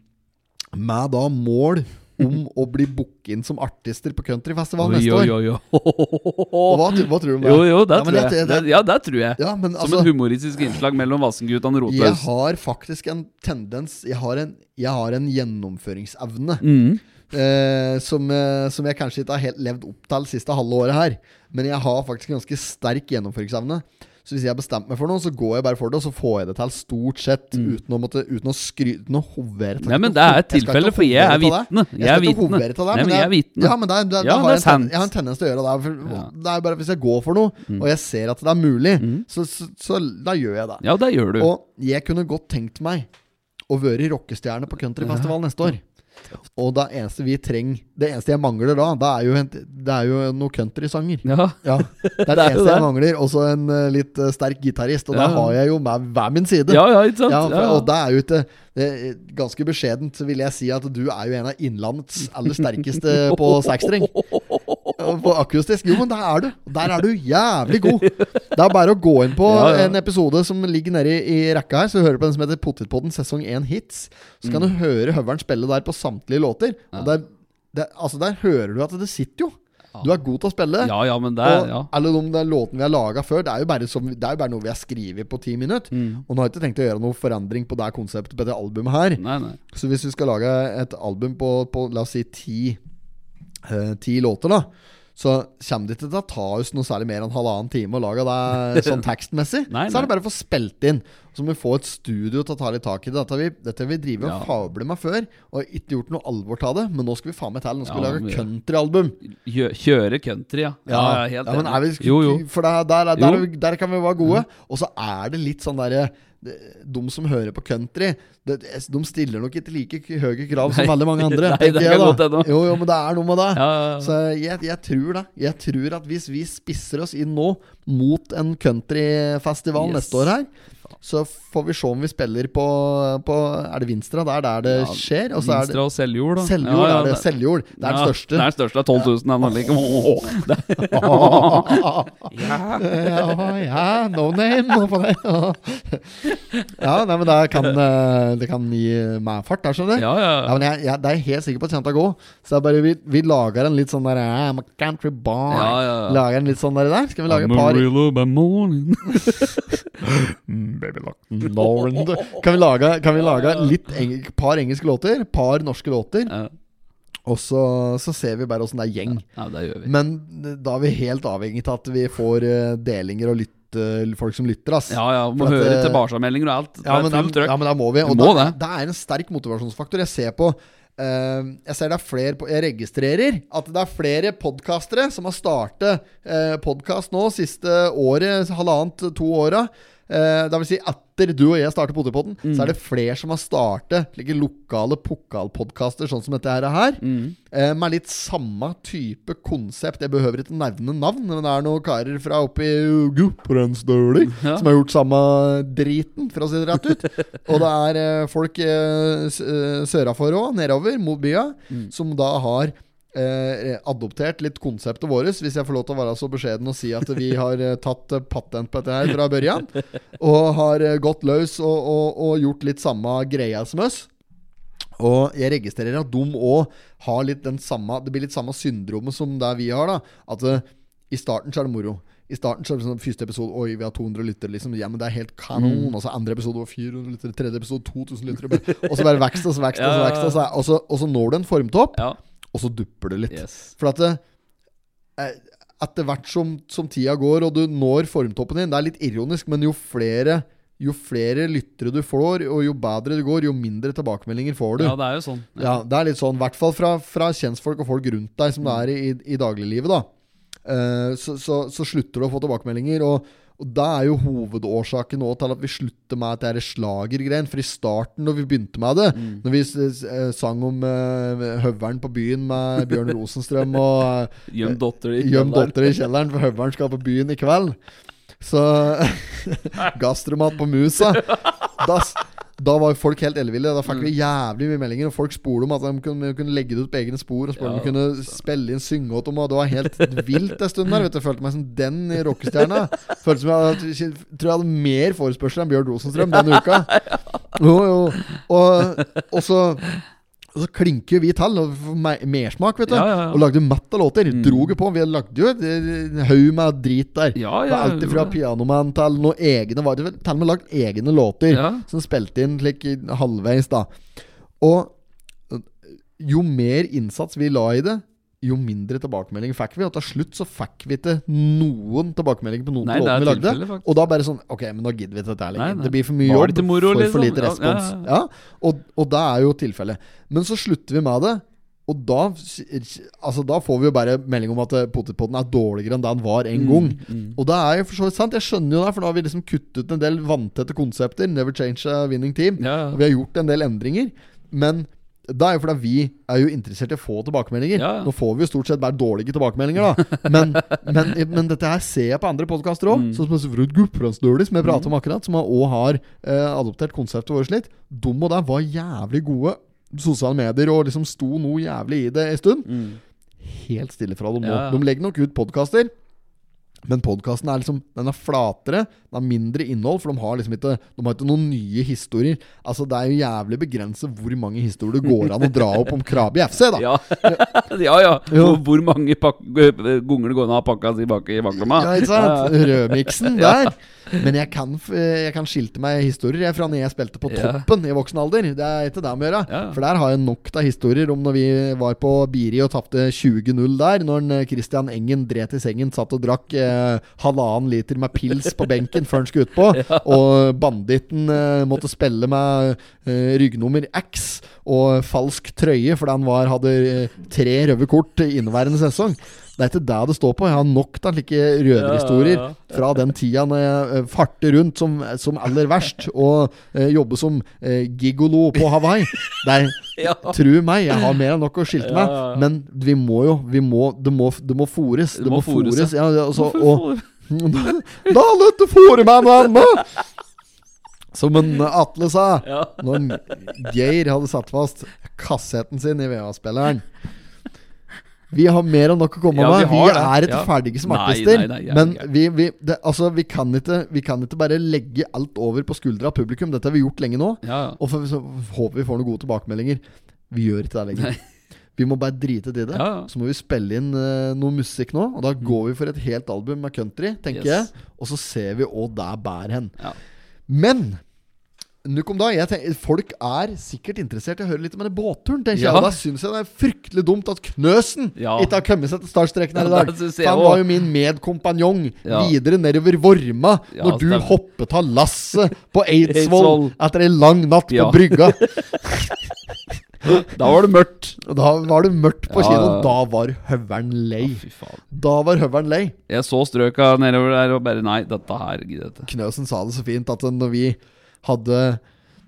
[SPEAKER 2] med da mål om å bli booket inn som artister på countryfestival
[SPEAKER 1] Oi,
[SPEAKER 2] neste
[SPEAKER 1] oi,
[SPEAKER 2] år.
[SPEAKER 1] oi, oi.
[SPEAKER 2] Og hva, tr- hva tror du om det?
[SPEAKER 1] Jo, jo, det tror
[SPEAKER 2] men
[SPEAKER 1] jeg.
[SPEAKER 2] dette-
[SPEAKER 1] Det- Ja, det tror jeg.
[SPEAKER 2] ja, men
[SPEAKER 1] Som et
[SPEAKER 2] altså
[SPEAKER 1] humoristisk innslag mellom Vassenguttan og
[SPEAKER 2] Jeg
[SPEAKER 1] Rotløs.
[SPEAKER 2] har faktisk en tendens Jeg har en, jeg har en gjennomføringsevne
[SPEAKER 1] Mm.
[SPEAKER 2] eh, som, eh, som jeg kanskje ikke har helt levd opp til det siste halve året her. Men jeg har faktisk ganske sterk gjennomføringsevne. Så hvis jeg har bestemt meg for noe, så går jeg bare for det, og så får jeg det til stort sett. Uten å, måtte, uten å skryte Uten å hovere til
[SPEAKER 1] Mm. Nei, men det er et
[SPEAKER 2] Jeg skal
[SPEAKER 1] tilfelle,
[SPEAKER 2] ikke
[SPEAKER 1] for jeg er
[SPEAKER 2] hovere til
[SPEAKER 1] vitne.
[SPEAKER 2] det.
[SPEAKER 1] Jeg er
[SPEAKER 2] skal ikke
[SPEAKER 1] vitne.
[SPEAKER 2] hovere til det,
[SPEAKER 1] Nei, men jeg er
[SPEAKER 2] det-
[SPEAKER 1] vitne.
[SPEAKER 2] Ja, men det er, det, det
[SPEAKER 1] Ja, det
[SPEAKER 2] har
[SPEAKER 1] er
[SPEAKER 2] jeg, en ten,
[SPEAKER 1] sant.
[SPEAKER 2] jeg har en tendens til å gjøre det. For,
[SPEAKER 1] Ja. Mm.
[SPEAKER 2] Det er bare hvis jeg går for noe, og jeg ser at det er mulig, så, så, så da gjør jeg det.
[SPEAKER 1] Ja, det gjør du.
[SPEAKER 2] Og jeg kunne godt tenkt meg å være rockestjerne på countryfestival neste år. Og det eneste vi trenger Det eneste jeg mangler da, det er jo, en, det er jo noen countrysanger.
[SPEAKER 1] Ja.
[SPEAKER 2] Ja, det er det,
[SPEAKER 1] Det er jo
[SPEAKER 2] eneste
[SPEAKER 1] det.
[SPEAKER 2] jeg mangler. Og så en eh, litt eh, sterk gitarist. Og
[SPEAKER 1] Ja.
[SPEAKER 2] det har jeg jo med hver min side.
[SPEAKER 1] ja, ja, ikke sant?
[SPEAKER 2] Ja, for,
[SPEAKER 1] Ja,
[SPEAKER 2] og det er jo ikke det er Ganske beskjedent så vil jeg si at du er jo en av innlandets aller sterkeste på sekstring. Ja, På akustisk? Jo, men der er du. Der er du jævlig god. Det er bare å gå inn på
[SPEAKER 1] Ja, ja.
[SPEAKER 2] en episode som ligger nede i, i rekka her. Så du hører på den som heter Potetpodden sesong 1 hits. Så kan
[SPEAKER 1] Mm.
[SPEAKER 2] du høre høveren spille der på samtlige låter. Og der, der, altså der hører du at det sitter jo. Du er god til å spille.
[SPEAKER 1] Ja, ja, men det
[SPEAKER 2] Og
[SPEAKER 1] ja.
[SPEAKER 2] alle de der låtene vi har laga før, det er, jo bare som, det er jo bare noe vi har skrevet på ti minutter.
[SPEAKER 1] Mm.
[SPEAKER 2] Og nå har jeg ikke tenkt å gjøre noe forandring på det konseptet på det albumet her.
[SPEAKER 1] Nei, nei.
[SPEAKER 2] Så hvis vi skal lage et album på, på la oss si ti, eh, ti låter, da så kommer det ikke til å ta oss noe særlig mer enn halvannen time å lage det sånn tekstmessig.
[SPEAKER 1] Nei,
[SPEAKER 2] Så
[SPEAKER 1] nei.
[SPEAKER 2] er det bare å få spilt inn. Så må vi få et studio til å ta litt tak i det. Dette har vi, dette har vi drevet og
[SPEAKER 1] Ja.
[SPEAKER 2] fablet med før, og ikke gjort noe alvor av det. Men nå skal vi faen meg til. Nå
[SPEAKER 1] Ja,
[SPEAKER 2] skal vi
[SPEAKER 1] men-
[SPEAKER 2] lage countryalbum.
[SPEAKER 1] Kjø kjøre country, ja. Ja, ja, helt
[SPEAKER 2] ja, men
[SPEAKER 1] enig.
[SPEAKER 2] er vi, liksom
[SPEAKER 1] Jo, jo.
[SPEAKER 2] For der, der, er- der,
[SPEAKER 1] Jo. Mm.
[SPEAKER 2] er vi- der kan vi være gode. Og så er det litt sånn derre De som hører på country, det, de stiller nok ikke like k- høye krav som
[SPEAKER 1] Nei.
[SPEAKER 2] veldig mange andre.
[SPEAKER 1] Nei,
[SPEAKER 2] tenker
[SPEAKER 1] det
[SPEAKER 2] jeg
[SPEAKER 1] kan
[SPEAKER 2] da.
[SPEAKER 1] godt hende.
[SPEAKER 2] Jo, jo, men det er noe med det.
[SPEAKER 1] Ja, ja, ja.
[SPEAKER 2] Så jeg, jeg tror det. Jeg tror at hvis vi spisser oss inn nå mot en countryfestival
[SPEAKER 1] Yes.
[SPEAKER 2] neste år her, så får vi se om vi spiller på, på Er det Vinstra? Det er der det skjer. Og så er det
[SPEAKER 1] Vinstra og Seljord, da.
[SPEAKER 2] Seljord.
[SPEAKER 1] Ja, ja,
[SPEAKER 2] er det,
[SPEAKER 1] det-
[SPEAKER 2] Seljord. Det er
[SPEAKER 1] Ja,
[SPEAKER 2] den største.
[SPEAKER 1] Det er den største. Det er 12 000 ennå. Like.
[SPEAKER 2] ja, ja, no name og på det. Ja, nei, men det kan, eh, det kan gi meg fart, der, skjønner du.
[SPEAKER 1] Ja, ja.
[SPEAKER 2] Ja, men jeg, jeg, det er jeg helt sikker på at det kommer til å gå. Så det er bare vi, vi lager en litt sånn der I'm a country boy.
[SPEAKER 1] Ja, ja, ja.
[SPEAKER 2] Lager en litt sånn der, der. Skal vi lage et par
[SPEAKER 1] Amarillo by morning.
[SPEAKER 2] Lauren. Kan vi lage, kan vi lage litt eng par engelske låter? Par norske låter?
[SPEAKER 1] Ja.
[SPEAKER 2] Og så, så ser vi bare åssen det er gjeng.
[SPEAKER 1] Ja, det gjør vi.
[SPEAKER 2] Men eh, da er vi helt avhengig av at vi får eh, delinger og lytte, folk som lytter, ass.
[SPEAKER 1] Ja, ja. Må
[SPEAKER 2] For at,
[SPEAKER 1] høre
[SPEAKER 2] eh,
[SPEAKER 1] tilbakemeldinger og alt. Det
[SPEAKER 2] Ja,
[SPEAKER 1] er
[SPEAKER 2] men, da-
[SPEAKER 1] fullt trøkk.
[SPEAKER 2] ja, men da må vi. Og
[SPEAKER 1] Du må
[SPEAKER 2] da,
[SPEAKER 1] det.
[SPEAKER 2] det er en sterk motivasjonsfaktor. Jeg ser på eh, Jeg ser det er flere på, Jeg registrerer at det er flere podkastere som har startet uh, podkast nå siste året, halvannet, to åra. Uh, det vil si etter du og jeg starter Potetpodden, så er
[SPEAKER 1] Mm.
[SPEAKER 2] det flere som har startet slike lokale pokalpodkaster sånn som dette her. er her
[SPEAKER 1] Mm.
[SPEAKER 2] eh, med litt samme type konsept. Jeg behøver ikke nevne navn, men det er noen karer fra oppe i Gudbrandsdølen
[SPEAKER 1] Ja.
[SPEAKER 2] som har gjort samme driten, for å si det rett ut. Og det er eh, folk eh, s- eh, sørafor òg, nedover mot bya, som da har Eh, adoptert litt konseptet vårt, hvis jeg får lov til å være så beskjeden og si at vi har eh, tatt eh, patent på dette her fra børjan. Og har eh, gått løs og, og, og gjort litt samme greia som oss. Og jeg registrerer at de òg har litt den samme Det blir litt samme syndromet som det vi har, da. At eh, i starten så er det moro. I starten så er det sånn første episode Oi, vi har 200 lyttere, liksom. Ja, men det er helt kanon.
[SPEAKER 1] Mm.
[SPEAKER 2] Og så andre episode var 400 lyttere, tredje episode 2000 lyttere. bare- Og så bare vekst og så vekst og så
[SPEAKER 1] Ja, ja,
[SPEAKER 2] vekst. Og så, og så, og så når du en formtopp,
[SPEAKER 1] Ja.
[SPEAKER 2] og så dupper det litt.
[SPEAKER 1] Yes.
[SPEAKER 2] For at det, eh, etter hvert som, som tida går, og du når formtoppen din Det er litt ironisk, men jo flere jo flere lyttere du får, og jo bedre det går, jo mindre tilbakemeldinger får du.
[SPEAKER 1] Ja, det er jo sånn.
[SPEAKER 2] Ja, det er litt sånn, i hvert fall fra, fra kjentfolk og folk rundt deg, som det er i, i dagliglivet, da. Eh, så, så, så slutter du å få tilbakemeldinger, og, og det er jo hovedårsaken nå til at vi slutter med at det er slagergreien. For i starten, når vi begynte med det, når vi s- s- eh, sang om eh, høveren på byen med Bjørn Rosenstrøm og eh,
[SPEAKER 1] Gjem dotter i kjelleren.
[SPEAKER 2] Gjem dotter i kjelleren, for høveren skal på byen i kveld. Så Gastromat på musa. Da, s- da var jo folk helt elleville. Da fikk
[SPEAKER 1] Mm.
[SPEAKER 2] vi jævlig mye meldinger, og folk spurte om at de kunne, kunne legge det ut på egne spor. Og spurte om de
[SPEAKER 1] Ja,
[SPEAKER 2] kunne spille inn synge åt dem. Og det var helt vilt en stund der. Vet du. Jeg følte meg som den i rockestjerna. Følte som jeg hadde, tror jeg hadde mer forespørsel enn Bjørn Rosenstrøm den uka. Jo, jo. Og, og så og så klinker vi til og får me- mersmak, vet du.
[SPEAKER 1] Ja, ja, ja.
[SPEAKER 2] Og lagde matt av låter.
[SPEAKER 1] Mm.
[SPEAKER 2] Drog jo på. Vi lagde jo et- en haug med drit der.
[SPEAKER 1] Ja, ja,
[SPEAKER 2] Det er Alt fra
[SPEAKER 1] gjorde det.
[SPEAKER 2] Pianoman til noe egne var det vel- Til og med lagd egne låter
[SPEAKER 1] Ja.
[SPEAKER 2] som spilte inn slik i- halvveis, da. Og øh, jo mer innsats vi la i det, jo mindre tilbakemelding fikk vi. Og til slutt så fikk vi ikke noen tilbakemelding på noen
[SPEAKER 1] Nei,
[SPEAKER 2] av
[SPEAKER 1] det er
[SPEAKER 2] låtene vi lagde.
[SPEAKER 1] tilfelle, faktisk.
[SPEAKER 2] og da bare sånn Ok, men nå gidder vi ikke dette her
[SPEAKER 1] Nei,
[SPEAKER 2] lenger.
[SPEAKER 1] nei.
[SPEAKER 2] Det blir for mye
[SPEAKER 1] Var
[SPEAKER 2] jobb,
[SPEAKER 1] det ikke moro,
[SPEAKER 2] for, for
[SPEAKER 1] liksom?
[SPEAKER 2] lite
[SPEAKER 1] Ja, ja,
[SPEAKER 2] respons.
[SPEAKER 1] ja.
[SPEAKER 2] Ja, og, og det er jo tilfellet. Men så slutter vi med det. Og da, altså da får vi jo bare melding om at eh, potetpotten er dårligere enn det den var
[SPEAKER 1] Mm.
[SPEAKER 2] en gang. Og det er jo for så vidt sant. Jeg skjønner jo det, for nå har vi liksom kuttet ut en del vanntette konsepter. Never change a winning team.
[SPEAKER 1] Ja, ja.
[SPEAKER 2] Og vi har gjort en del endringer. Men det er jo fordi vi er jo interessert i å få tilbakemeldinger.
[SPEAKER 1] Ja, ja.
[SPEAKER 2] Nå får vi jo stort sett bare dårlige tilbakemeldinger, da. Men, men, men dette her ser jeg på andre podkaster
[SPEAKER 1] Mm.
[SPEAKER 2] òg. Sånn som Frud Gudbrandsdøli, som jeg prater om akkurat, som òg har eh, adoptert konseptet vårt litt. De og der var jævlig gode sosiale medier og liksom sto noe jævlig i det en stund. helt stille fra dem nå.
[SPEAKER 1] Mm. Ja, ja.
[SPEAKER 2] De legger nok ut podkaster, men podkasten er liksom Den er flatere, den har mindre innhold, for de har liksom ikke De har ikke noen nye historier. Altså Det er jo jævlig begrenset hvor mange historier det går an å dra opp om Krabi FC, da.
[SPEAKER 1] Ja, ja. ja.
[SPEAKER 2] Jo.
[SPEAKER 1] Hvor, hvor mange pak ganger det går an å ha pakka si bak i baklomma?
[SPEAKER 2] Ja, ikke sant? Rødmiksen der. Men jeg kan, f- jeg kan skilte meg historier jeg fra når jeg spilte på
[SPEAKER 1] Ja.
[SPEAKER 2] toppen i voksen alder. Det er ikke det med å gjøre.
[SPEAKER 1] Ja.
[SPEAKER 2] For der har jeg nok av historier om når vi var på Biri og tapte 20-0 der. Når en, eh, Christian Engen dret i sengen, satt og drakk eh, halvannen liter med pils på benken før han skulle utpå. Og banditten eh, måtte spille med eh, ryggnummer X og falsk trøye fordi han var, hadde eh, tre røde kort i inneværende sesong. Det er ikke det det står på. Jeg har nok av slike røverhistorier
[SPEAKER 1] Ja, ja,
[SPEAKER 2] fra den tida når jeg eh, farter rundt som, som aller verst og eh, jobber som eh, gigolo på Hawaii. Det er,
[SPEAKER 1] Ja.
[SPEAKER 2] Tru meg, jeg har mer enn nok å skilte
[SPEAKER 1] Ja,
[SPEAKER 2] meg.
[SPEAKER 1] ja, ja.
[SPEAKER 2] Men vi må jo vi må, det, må, det må fôres. Det, må fôres, ja. ja, altså, og, da løt det fôre meg noe annet! Som en Atle sa
[SPEAKER 1] Ja.
[SPEAKER 2] når Geir hadde satt fast kassetten sin i VA-spilleren. Vi har mer enn nok å komme
[SPEAKER 1] Ja, vi
[SPEAKER 2] med. Vi,
[SPEAKER 1] har
[SPEAKER 2] er
[SPEAKER 1] det.
[SPEAKER 2] ikke
[SPEAKER 1] Ja.
[SPEAKER 2] ferdige som
[SPEAKER 1] Nei,
[SPEAKER 2] artister.
[SPEAKER 1] nei, nei, jeg er
[SPEAKER 2] men
[SPEAKER 1] ikke.
[SPEAKER 2] vi, vi, det, altså, vi, kan ikke, vi kan ikke bare legge alt over på skuldra av publikum. Dette har vi gjort lenge nå.
[SPEAKER 1] Ja,
[SPEAKER 2] Og for, så håper vi får noen gode tilbakemeldinger. Vi gjør ikke det lenger. Vi må bare drite i det.
[SPEAKER 1] Ja, ja.
[SPEAKER 2] Så må vi spille inn eh, noe musikk nå. Og da går vi for et helt album med country, tenker
[SPEAKER 1] Yes.
[SPEAKER 2] jeg. Og så ser vi hva det bærer hen.
[SPEAKER 1] Ja.
[SPEAKER 2] Men Nuk om da, jeg tenker, folk er sikkert interessert i å høre litt om denne båtturen. tenker
[SPEAKER 1] Ja.
[SPEAKER 2] jeg Og Da syns jeg det er fryktelig dumt at Knøsen
[SPEAKER 1] Ja.
[SPEAKER 2] ikke har kommet seg til startstreken her i
[SPEAKER 1] Ja,
[SPEAKER 2] dag.
[SPEAKER 1] det synes
[SPEAKER 2] For
[SPEAKER 1] jeg
[SPEAKER 2] han
[SPEAKER 1] også.
[SPEAKER 2] var jo min medkompanjong
[SPEAKER 1] Ja.
[SPEAKER 2] videre nedover Vorma
[SPEAKER 1] Ja,
[SPEAKER 2] når du
[SPEAKER 1] stemmer.
[SPEAKER 2] hoppet av lasset på Eidsvoll
[SPEAKER 1] Eidsvoll.
[SPEAKER 2] etter ei lang natt på
[SPEAKER 1] Ja.
[SPEAKER 2] brygga.
[SPEAKER 1] Da var det mørkt.
[SPEAKER 2] Og Da var det mørkt på
[SPEAKER 1] Ja,
[SPEAKER 2] kinoen.
[SPEAKER 1] ja.
[SPEAKER 2] Da var høveren lei.
[SPEAKER 1] Fy faen.
[SPEAKER 2] Da var høveren lei.
[SPEAKER 1] Jeg så strøka nedover der og bare Nei, dette her gidder jeg ikke.
[SPEAKER 2] Knøsen sa det så fint at når vi hadde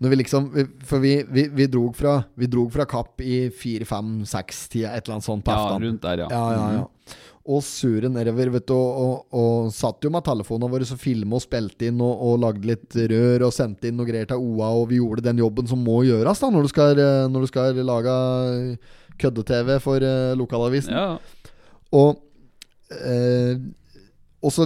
[SPEAKER 2] Når vi liksom For vi, vi, vi drog fra Vi drog fra Kapp i fire-fem-seks-tida, et eller annet sånt på
[SPEAKER 1] Ja,
[SPEAKER 2] aftan.
[SPEAKER 1] rundt der, ja.
[SPEAKER 2] Ja, ja, ja. Og sure nedover, vet du. Og, og, og satt jo med telefonene våre og filma og spilte inn og, og lagde litt rør og sendte inn noe greier til OA, og vi gjorde den jobben som må gjøres da når du skal, eh, når du skal lage eh, kødde-TV for eh, lokalavisen.
[SPEAKER 1] Ja,
[SPEAKER 2] Og eh, Og så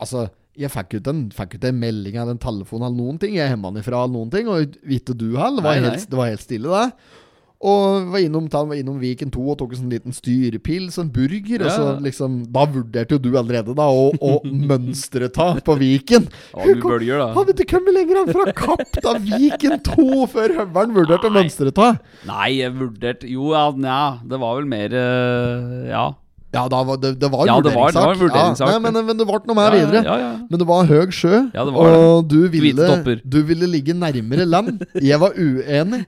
[SPEAKER 2] Altså, jeg fikk ut en, fikk ut en melding eller en telefon eller noen ting. Jeg hemma den ifra eller noen ting, og ikke du heller. Det, var
[SPEAKER 1] Nei, nei.
[SPEAKER 2] helt- det var helt stille, det. Og var innom, ta, var innom Viken 2 og tok en sånn liten styrepils og en burger. Og så
[SPEAKER 1] Ja.
[SPEAKER 2] liksom Da vurderte jo du allerede da å, å mønstre ta på Viken.
[SPEAKER 1] Ja, du bølger, da.
[SPEAKER 2] Hadde ikke kommet lenger enn fra Kapp da Viken 2 før høveren vurderte å
[SPEAKER 1] Nei.
[SPEAKER 2] mønstre ta.
[SPEAKER 1] Nei, jeg vurderte Jo, ja, nja. Det var vel mer eh, Ja.
[SPEAKER 2] Ja, da var, det, det var en
[SPEAKER 1] Ja, det var-
[SPEAKER 2] vurderingssak.
[SPEAKER 1] det var en vurderingssak.
[SPEAKER 2] Ja, nei, men, men det ble noe mer
[SPEAKER 1] Ja, ja,
[SPEAKER 2] videre.
[SPEAKER 1] ja, ja.
[SPEAKER 2] Men det var høg sjø,
[SPEAKER 1] Ja, det var
[SPEAKER 2] og du ville,
[SPEAKER 1] Hvite topper.
[SPEAKER 2] du ville ligge nærmere land. Jeg var uenig.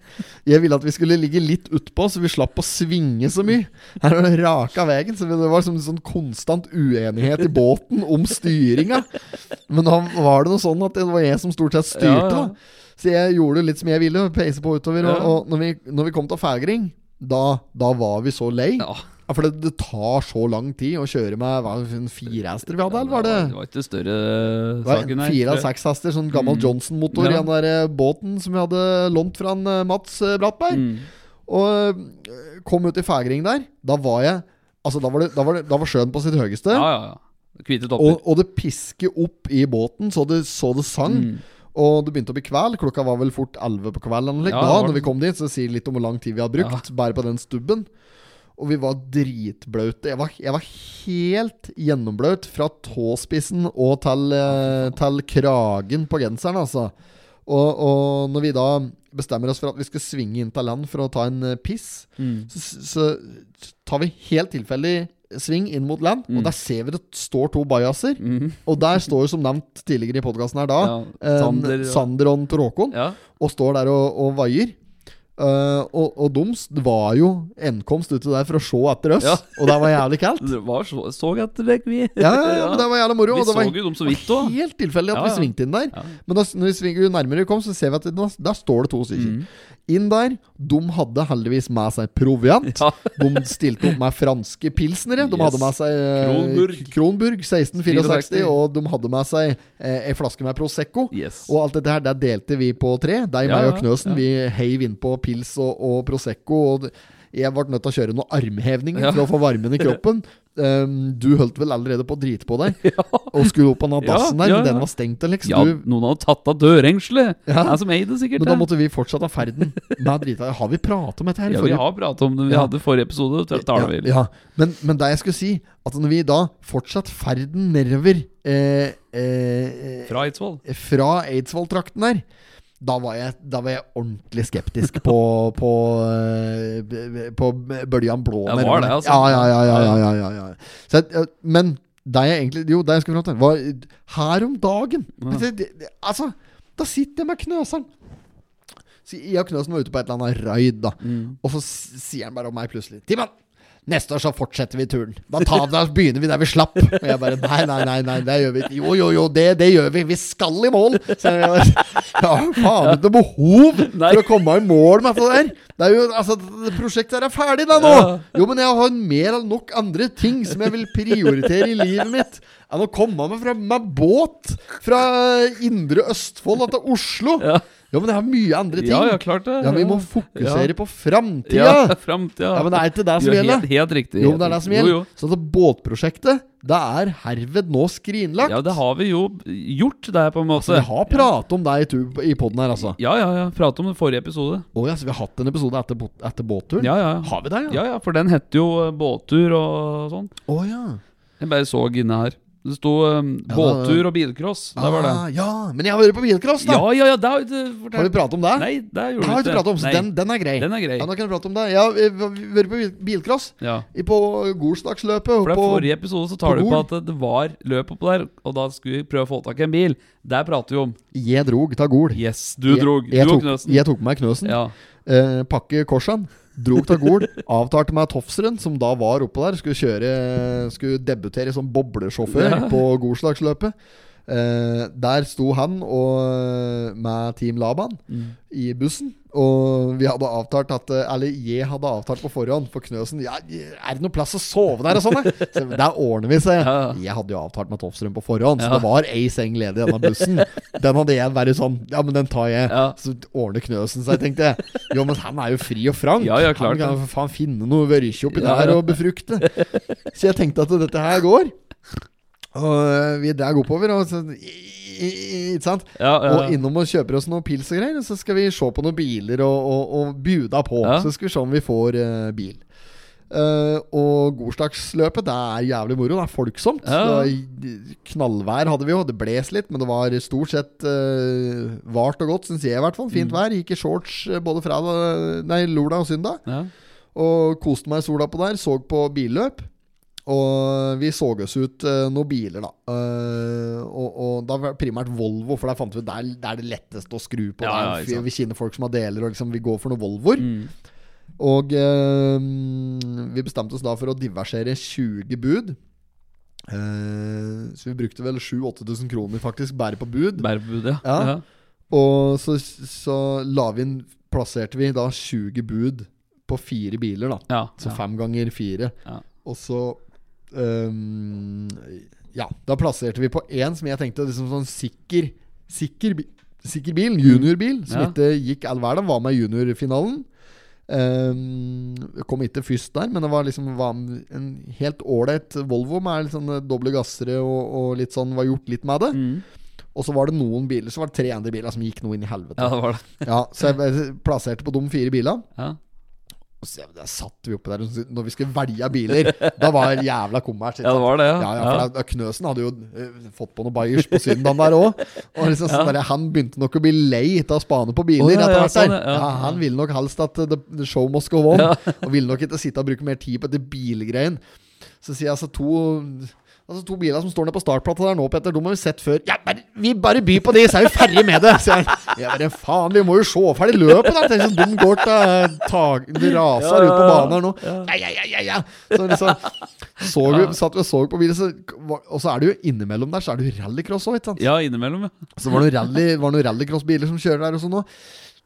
[SPEAKER 2] Jeg ville at vi skulle ligge litt utpå, så vi slapp å svinge så mye. Her var det raka veien, så det var som en sånn konstant uenighet i båten om styringa. Men da var det noe sånn at det var jeg som stort
[SPEAKER 1] Ja,
[SPEAKER 2] sett styrte,
[SPEAKER 1] ja.
[SPEAKER 2] da. Så jeg gjorde litt som jeg ville, peise på utover.
[SPEAKER 1] Ja.
[SPEAKER 2] Og, og når, vi, når vi kom til Fægring, da, da var vi så lei.
[SPEAKER 1] ja.
[SPEAKER 2] Ja, for det, det tar så lang tid å kjøre med hva, en firehester vi hadde, eller var det?
[SPEAKER 1] Det var ikke større
[SPEAKER 2] Det var
[SPEAKER 1] eh, saken her.
[SPEAKER 2] Fire
[SPEAKER 1] tror
[SPEAKER 2] av
[SPEAKER 1] jeg.
[SPEAKER 2] seks hester, sånn gammel Johnson-motor i
[SPEAKER 1] Ja.
[SPEAKER 2] den der eh, båten som vi hadde lånt fra en, eh, Mats eh, Brattberg.
[SPEAKER 1] Mm.
[SPEAKER 2] Og eh, kom ut i Fægring der. Da var jeg Altså, da var, det, da var, det, da var sjøen på sitt høyeste.
[SPEAKER 1] Ja, ja, ja. Hvite topper.
[SPEAKER 2] Og, og det pisker opp i båten, så det, så det sang.
[SPEAKER 1] Mm.
[SPEAKER 2] Og det begynte å bli kveld. Klokka var vel fort 11 på kvelden. eller
[SPEAKER 1] Ja,
[SPEAKER 2] da
[SPEAKER 1] det var
[SPEAKER 2] når vi
[SPEAKER 1] det.
[SPEAKER 2] kom dit, så det sier litt om hvor lang tid vi har brukt bare på den stubben. Og vi var dritblaute. Jeg var, jeg var helt gjennomblaut fra tåspissen og til, eh, til kragen på genseren, altså. Og, og når vi da bestemmer oss for at vi skal svinge inn til land for å ta en eh, piss,
[SPEAKER 1] Mm.
[SPEAKER 2] så, så tar vi helt tilfeldig sving inn mot land,
[SPEAKER 1] Mm.
[SPEAKER 2] og der ser vi det står to bajaser. Og der står jo som nevnt tidligere i podkasten her da
[SPEAKER 1] Mm-hmm. Ja,
[SPEAKER 2] eh,
[SPEAKER 1] Sander
[SPEAKER 2] Sander,
[SPEAKER 1] og-
[SPEAKER 2] og Tor Håkon,
[SPEAKER 1] Ja.
[SPEAKER 2] og står der og, og vaier. Eh, og, og doms det var jo enkomst ute der for å se etter oss,
[SPEAKER 1] Ja.
[SPEAKER 2] og det var jævlig kaldt.
[SPEAKER 1] Det var så, så at det vi
[SPEAKER 2] Ja, ja, ja, men det var jævla moro.
[SPEAKER 1] Vi
[SPEAKER 2] og det var
[SPEAKER 1] så jo dem så vidt også.
[SPEAKER 2] Helt tilfeldig at
[SPEAKER 1] Ja,
[SPEAKER 2] vi
[SPEAKER 1] ja.
[SPEAKER 2] svingte inn der.
[SPEAKER 1] Ja.
[SPEAKER 2] Men da, når vi svinger jo nærmere vi kom, så ser vi at det, der står det to stykker.
[SPEAKER 1] Mm.
[SPEAKER 2] Inn der. De hadde heldigvis med seg proviant.
[SPEAKER 1] Ja.
[SPEAKER 2] De stilte opp med franske pilsnere. De
[SPEAKER 1] Yes.
[SPEAKER 2] hadde med seg eh,
[SPEAKER 1] Kronburg.
[SPEAKER 2] Kronburg 1664,
[SPEAKER 1] 64.
[SPEAKER 2] og de hadde med seg eh, ei flaske med Prosecco.
[SPEAKER 1] Yes.
[SPEAKER 2] Og alt dette her, der delte vi på tre. Deg,
[SPEAKER 1] Ja,
[SPEAKER 2] meg og
[SPEAKER 1] ja,
[SPEAKER 2] Knøsen.
[SPEAKER 1] ja.
[SPEAKER 2] Vi heiv innpå pils og, og Prosecco. Og det- Jeg ble nødt til å kjøre noen armhevninger
[SPEAKER 1] Ja.
[SPEAKER 2] for å få varmen i kroppen. Ehm, du holdt vel allerede på å drite på deg og skulle opp av den
[SPEAKER 1] Ja,
[SPEAKER 2] dassen der,
[SPEAKER 1] ja,
[SPEAKER 2] men
[SPEAKER 1] ja.
[SPEAKER 2] den var stengt, Alex.
[SPEAKER 1] Ja,
[SPEAKER 2] Du,
[SPEAKER 1] noen har tatt av dørhengselet!
[SPEAKER 2] Ja.
[SPEAKER 1] Jeg som eier det, sikkert.
[SPEAKER 2] men da
[SPEAKER 1] det.
[SPEAKER 2] måtte vi fortsette ferden med drita. Har vi pratet om dette her i
[SPEAKER 1] ja, vi
[SPEAKER 2] forrige
[SPEAKER 1] har pratet om det. Vi
[SPEAKER 2] Ja.
[SPEAKER 1] hadde forrige episode. Da tar vi litt.
[SPEAKER 2] ja, ja. Men, men det jeg skulle si, at når vi da fortsatt ferden nedover eh, eh,
[SPEAKER 1] Fra Eidsvoll.
[SPEAKER 2] fra Eidsvoll-trakten her da var, jeg, da var jeg ordentlig skeptisk på På, eh, b- b- på bøljan blå.
[SPEAKER 1] Ja,
[SPEAKER 2] nedover
[SPEAKER 1] var det,
[SPEAKER 2] der.
[SPEAKER 1] altså?
[SPEAKER 2] Ja, ja, ja. ja, ja, ja, ja, ja. Så, jeg- ja, men det jeg egentlig Jo, det jeg skulle fram til, var her om dagen. Det- det- det- Altså, da sitter jeg med knøseren. Så jeg og Knøsen var ute på et eller annet raid, da. Og så s- sier han bare om meg plutselig Timon! Neste år så fortsetter vi turen. Da, tar, da begynner vi der vi slapp. Og jeg bare Nei, nei, nei, nei det gjør vi ikke. Jo, jo, jo, det, det gjør vi. Vi skal i mål! Så jeg bare, ja, faen ikke noe behov
[SPEAKER 1] Nei.
[SPEAKER 2] for å komme i mål med det der. Det er jo, altså, det prosjektet her er ferdig da nå! Jo, men jeg har mer enn nok andre ting som jeg vil prioritere i livet mitt enn å komme meg fra med båt fra indre Østfold og til Oslo.
[SPEAKER 1] Ja.
[SPEAKER 2] Jo, men jeg har mye andre ting.
[SPEAKER 1] Ja, ja, klart det.
[SPEAKER 2] Ja, vi må fokusere på framtida!
[SPEAKER 1] ja.
[SPEAKER 2] Ja.
[SPEAKER 1] Framtida.
[SPEAKER 2] men det er ikke det som
[SPEAKER 1] Jo,
[SPEAKER 2] gjelder.
[SPEAKER 1] Helt, helt riktig.
[SPEAKER 2] Jo, men det er det som
[SPEAKER 1] Jo,
[SPEAKER 2] gjelder.
[SPEAKER 1] jo.
[SPEAKER 2] Så det båtprosjektet, det er herved nå skrinlagt.
[SPEAKER 1] Ja, det har vi jo gjort, det, på en måte.
[SPEAKER 2] Så Altså, vi har pratet om deg i, tu- i poden her, altså.
[SPEAKER 1] Ja, ja, ja. Prate om det forrige episode.
[SPEAKER 2] Å ja, så vi har hatt en episode etter, bot- etter båtturen?
[SPEAKER 1] Ja, ja.
[SPEAKER 2] Har vi det, ja?
[SPEAKER 1] Ja, ja, for den hette jo eh, båttur og sånn.
[SPEAKER 2] Å ja.
[SPEAKER 1] Jeg bare så inne her. Det sto eh, båttur og bilcross. Det var det.
[SPEAKER 2] Ah, ja, men jeg har vært på bilcross, da!
[SPEAKER 1] Ja, ja, ja, det har vi ikke
[SPEAKER 2] Har vi
[SPEAKER 1] fortalt.
[SPEAKER 2] pratet om det?
[SPEAKER 1] Nei, det
[SPEAKER 2] Det
[SPEAKER 1] gjorde
[SPEAKER 2] har
[SPEAKER 1] vi
[SPEAKER 2] vi ikke pratet om, så
[SPEAKER 1] Nei.
[SPEAKER 2] den, den er grei.
[SPEAKER 1] Den er grei.
[SPEAKER 2] Ja, da kan vi prate om det. Ja, vi vi har vært på bil- bilcross.
[SPEAKER 1] Ja.
[SPEAKER 2] I- På Golsdagsløpet. og
[SPEAKER 1] For det er
[SPEAKER 2] på-
[SPEAKER 1] forrige episode så tar
[SPEAKER 2] på
[SPEAKER 1] du på
[SPEAKER 2] Gol.
[SPEAKER 1] at det var løp oppå der, og da skulle vi prøve å få tak i en bil. Der prater vi om.
[SPEAKER 2] Jeg drog til Gol.
[SPEAKER 1] Yes, du drog.
[SPEAKER 2] Jeg, jeg,
[SPEAKER 1] du og
[SPEAKER 2] tok,
[SPEAKER 1] Knøsen.
[SPEAKER 2] jeg tok med meg Knøsen.
[SPEAKER 1] Ja.
[SPEAKER 2] eh, pakke korsen, drog til Gol, avtalte meg Tofseren, som da var oppe der, skulle kjøre Skulle debutere som boblesjåfør på Golslagsløpet. Eh, der sto han og, eh, med Team Laban
[SPEAKER 1] Mm.
[SPEAKER 2] i bussen. Og vi hadde avtalt at eh, Eller jeg hadde avtalt på forhånd for Knøsen ja, 'Er det noe plass å sove der?' og sånn. da? Så der ordner vi seg.
[SPEAKER 1] Ja.
[SPEAKER 2] Jeg hadde jo avtalt med Tofsrud på forhånd, så det var ei seng ledig i denne bussen. Den hadde jeg vært sånn Ja, men den tar jeg.
[SPEAKER 1] Ja.
[SPEAKER 2] Så ordner Knøsen seg, tenkte jeg. Jo, men han er jo fri og frank.
[SPEAKER 1] Ja, ja, klart
[SPEAKER 2] han kan jo for faen finne noe vørkje oppi
[SPEAKER 1] Ja,
[SPEAKER 2] der
[SPEAKER 1] ja.
[SPEAKER 2] og befrukte. Så jeg tenkte at dette her går. Og øh, vi drar oppover, og så i- i- i- Ikke sant?
[SPEAKER 1] Ja, ja, ja.
[SPEAKER 2] Og innom og kjøper oss noen pils og greier. og Så skal vi se på noen biler og, og, og buda på.
[SPEAKER 1] Ja.
[SPEAKER 2] Så skal vi se om vi får eh, bil. Eh, og gårsdagsløpet, det er jævlig moro. Det er folksomt.
[SPEAKER 1] Ja.
[SPEAKER 2] Det var knallvær hadde vi jo. Det bles litt, men det var stort sett eh, vart og godt, syns jeg i hvert fall.
[SPEAKER 1] Mm.
[SPEAKER 2] Fint vær. Gikk i shorts eh, både fra, nei, lordag og søndag.
[SPEAKER 1] Ja.
[SPEAKER 2] Og koste meg i sola på der, så på billøp. Og vi så oss ut eh, noen biler, da. Eh, og, og da var det primært Volvo, for der fant vi ut der, der er det letteste å skru på.
[SPEAKER 1] Ja, ja,
[SPEAKER 2] der.
[SPEAKER 1] ikke sant. Mm.
[SPEAKER 2] Vi kjenner folk som har deler, og liksom, vi går for noen Volvoer. Og eh, vi bestemte oss da for å diversere 20 bud. Eh, så vi brukte vel 7000-8000 kroner faktisk bare på bud.
[SPEAKER 1] Bærebud, ja.
[SPEAKER 2] Ja.
[SPEAKER 1] ja.
[SPEAKER 2] Og så, så la vi inn Plasserte vi da 20 bud på fire biler, da.
[SPEAKER 1] ja.
[SPEAKER 2] Så
[SPEAKER 1] ja.
[SPEAKER 2] fem ganger fire.
[SPEAKER 1] Ja.
[SPEAKER 2] Og så øhm, Ja, da plasserte vi på én som jeg tenkte liksom sånn sikker Sikker, bi- sikker bil, juniorbil,
[SPEAKER 1] Mm.
[SPEAKER 2] som
[SPEAKER 1] Ja.
[SPEAKER 2] ikke gikk all verden. Var med i juniorfinalen. Øhm, kom ikke først der, men det var liksom var en helt ålreit Volvo med litt sånn doble gassere og, og litt sånn var gjort litt med det.
[SPEAKER 1] Mm.
[SPEAKER 2] Og så var det noen biler Så var det tre andre biler som gikk noe inn i helvete.
[SPEAKER 1] ja, det var det.
[SPEAKER 2] Ja, så jeg plasserte på de fire bilene.
[SPEAKER 1] Ja.
[SPEAKER 2] Og så, der satt vi oppe der og- når vi skulle velge biler. Da var det jævla kommers. ikke
[SPEAKER 1] Ja, det var det, ja.
[SPEAKER 2] sant? Ja, ja, for
[SPEAKER 1] Ja.
[SPEAKER 2] da- Knøsen hadde jo eh, fått på noe bayers på søndagen der òg. Og liksom sånn der, han begynte nok å bli lei av å spane på biler
[SPEAKER 1] Å, ja,
[SPEAKER 2] etter
[SPEAKER 1] ja,
[SPEAKER 2] hvert. der.
[SPEAKER 1] sånn, ja, ja.
[SPEAKER 2] Ja, han ville nok helst at eh, the, the show must go on. Og ville nok ikke sitte og bruke mer tid på dette bilgreien. Så sier jeg altså to Altså To biler som står nede på startplata der nå, Petter, de har vi sett før. Ja, men vi bare byr på de, så er vi ferdig med det! Så jeg, jeg bare, faen, vi må jo se ferdig løpet, da! Tenk så de går til eh, tag... De raser
[SPEAKER 1] Ja, ja,
[SPEAKER 2] ut på
[SPEAKER 1] ja.
[SPEAKER 2] banen her nå. Ja, ja, ja, ja, ja. Så liksom, så vi, satt vi og så på bilen, så, og så er det jo innimellom der, så er det jo rallycross òg, ikke sant?
[SPEAKER 1] Ja, innimellom, ja.
[SPEAKER 2] Så var det noen rally, var det noen rallycrossbiler som kjører der og sånn òg.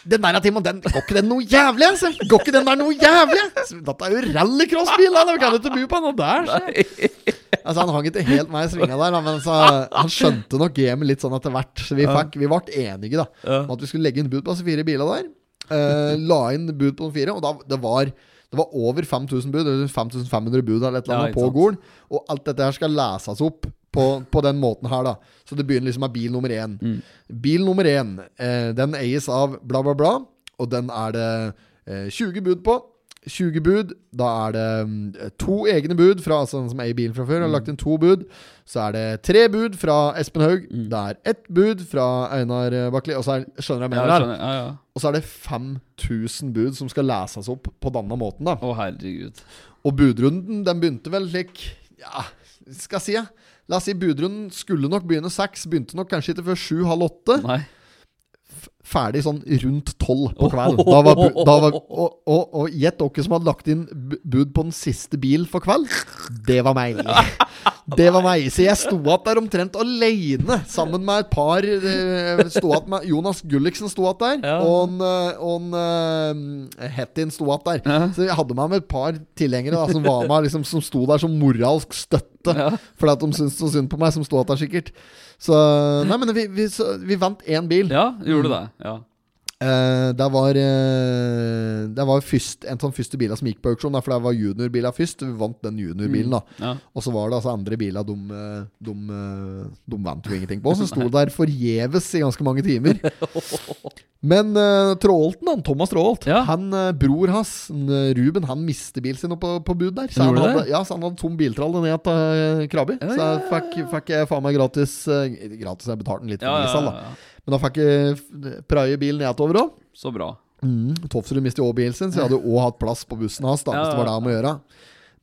[SPEAKER 2] Den der, Timon, den går ikke den noe jævlig, altså! Går ikke den der noe jævlig? Så Dette er jo rallycrossbil, da! Vi kan jo ikke by på noe der, så. Altså Han hang ikke helt meg i svinga der, da, men så, han skjønte nok gamet litt sånn etter hvert. Så vi, fikk, vi ble enige da om at vi skulle legge inn bud på disse fire bilene der. Eh, la inn bud på de fire, og da det var Det var over 5000 bud, eller 5500 bud eller et eller
[SPEAKER 1] Ja,
[SPEAKER 2] annet
[SPEAKER 1] ikke
[SPEAKER 2] på
[SPEAKER 1] sant.
[SPEAKER 2] Gol. Og alt dette her skal leses opp på, på den måten her, da. Så det begynner liksom med bil nummer én.
[SPEAKER 1] Mm.
[SPEAKER 2] Bil nummer én, eh, den eies av bla, bla, bla. Og den er det eh, 20 bud på. 20 bud, da er det mm, to egne bud fra altså den som eier bilen fra før.
[SPEAKER 1] Mm.
[SPEAKER 2] Har lagt inn to bud. Så er det tre bud fra Espen Haug.
[SPEAKER 1] Mm.
[SPEAKER 2] Det er ett bud fra Einar eh, Bakli. Og så er, skjønner du hva jeg
[SPEAKER 1] Ja, jeg
[SPEAKER 2] mener? her?
[SPEAKER 1] skjønner. Ja, ja.
[SPEAKER 2] Og så er det 5000 bud som skal leses opp på denne måten. da
[SPEAKER 1] Å, herregud.
[SPEAKER 2] Og budrunden den begynte vel slik Ja, skal jeg si ja. La oss si budrunden skulle nok begynne seks. Begynte nok kanskje ikke før sju-halv åtte.
[SPEAKER 1] Nei.
[SPEAKER 2] Ferdig sånn rundt tolv på kvelden. Da var bu da var, og- og og gjett dere som hadde lagt inn bu- bud på den siste bil for kveld. Det var meg. Det var meg. Så jeg sto igjen der omtrent aleine sammen med et par eh, sto igjen med, Jonas Gulliksen sto igjen der,
[SPEAKER 1] Ja.
[SPEAKER 2] og en, eh, og en eh, Hettin sto igjen der.
[SPEAKER 1] Ja.
[SPEAKER 2] Så jeg hadde med meg et par tilhengere da, som var med liksom, Som sto der som moralsk støtte. Fordi at de syntes så synd på meg, som sto igjen der, sikkert. Så Nei, men vi, vi, så, vi vant én bil.
[SPEAKER 1] Ja, gjorde det. Ja.
[SPEAKER 2] Eh, det var, eh, det var først, en av de første bilene som gikk på auksjon, da, for det var juniorbiler først. Vi vant den juniorbilen, da.
[SPEAKER 1] ja.
[SPEAKER 2] Og så var det altså andre biler de, eh, de, eh, de vant jo ingenting på, som sto der forgjeves i ganske mange timer. Men eh, Tråholten, han, Thomas Tråholt,
[SPEAKER 1] Ja.
[SPEAKER 2] han, eh, bror hans, en, eh, Ruben, han mister bilen sin oppe på, på bud der. Så
[SPEAKER 1] Han
[SPEAKER 2] han,
[SPEAKER 1] gjorde
[SPEAKER 2] hadde,
[SPEAKER 1] det?
[SPEAKER 2] ja, så han hadde tom biltralle ned til eh, Krabi.
[SPEAKER 1] Ja,
[SPEAKER 2] så
[SPEAKER 1] ja,
[SPEAKER 2] jeg fikk, fikk jeg faen meg gratis eh, Gratis, jeg betalte den litt,
[SPEAKER 1] Ja,
[SPEAKER 2] for
[SPEAKER 1] ja,
[SPEAKER 2] diesel, da.
[SPEAKER 1] ja, ja.
[SPEAKER 2] men da fikk jeg f- praie bilen nedover òg.
[SPEAKER 1] Så bra.
[SPEAKER 2] Mm, Tofsrud mistet jo også bilen sin, så jeg hadde jo òg hatt plass på bussen hans. Da,
[SPEAKER 1] Ja,
[SPEAKER 2] hvis
[SPEAKER 1] ja,
[SPEAKER 2] det var det han må gjøre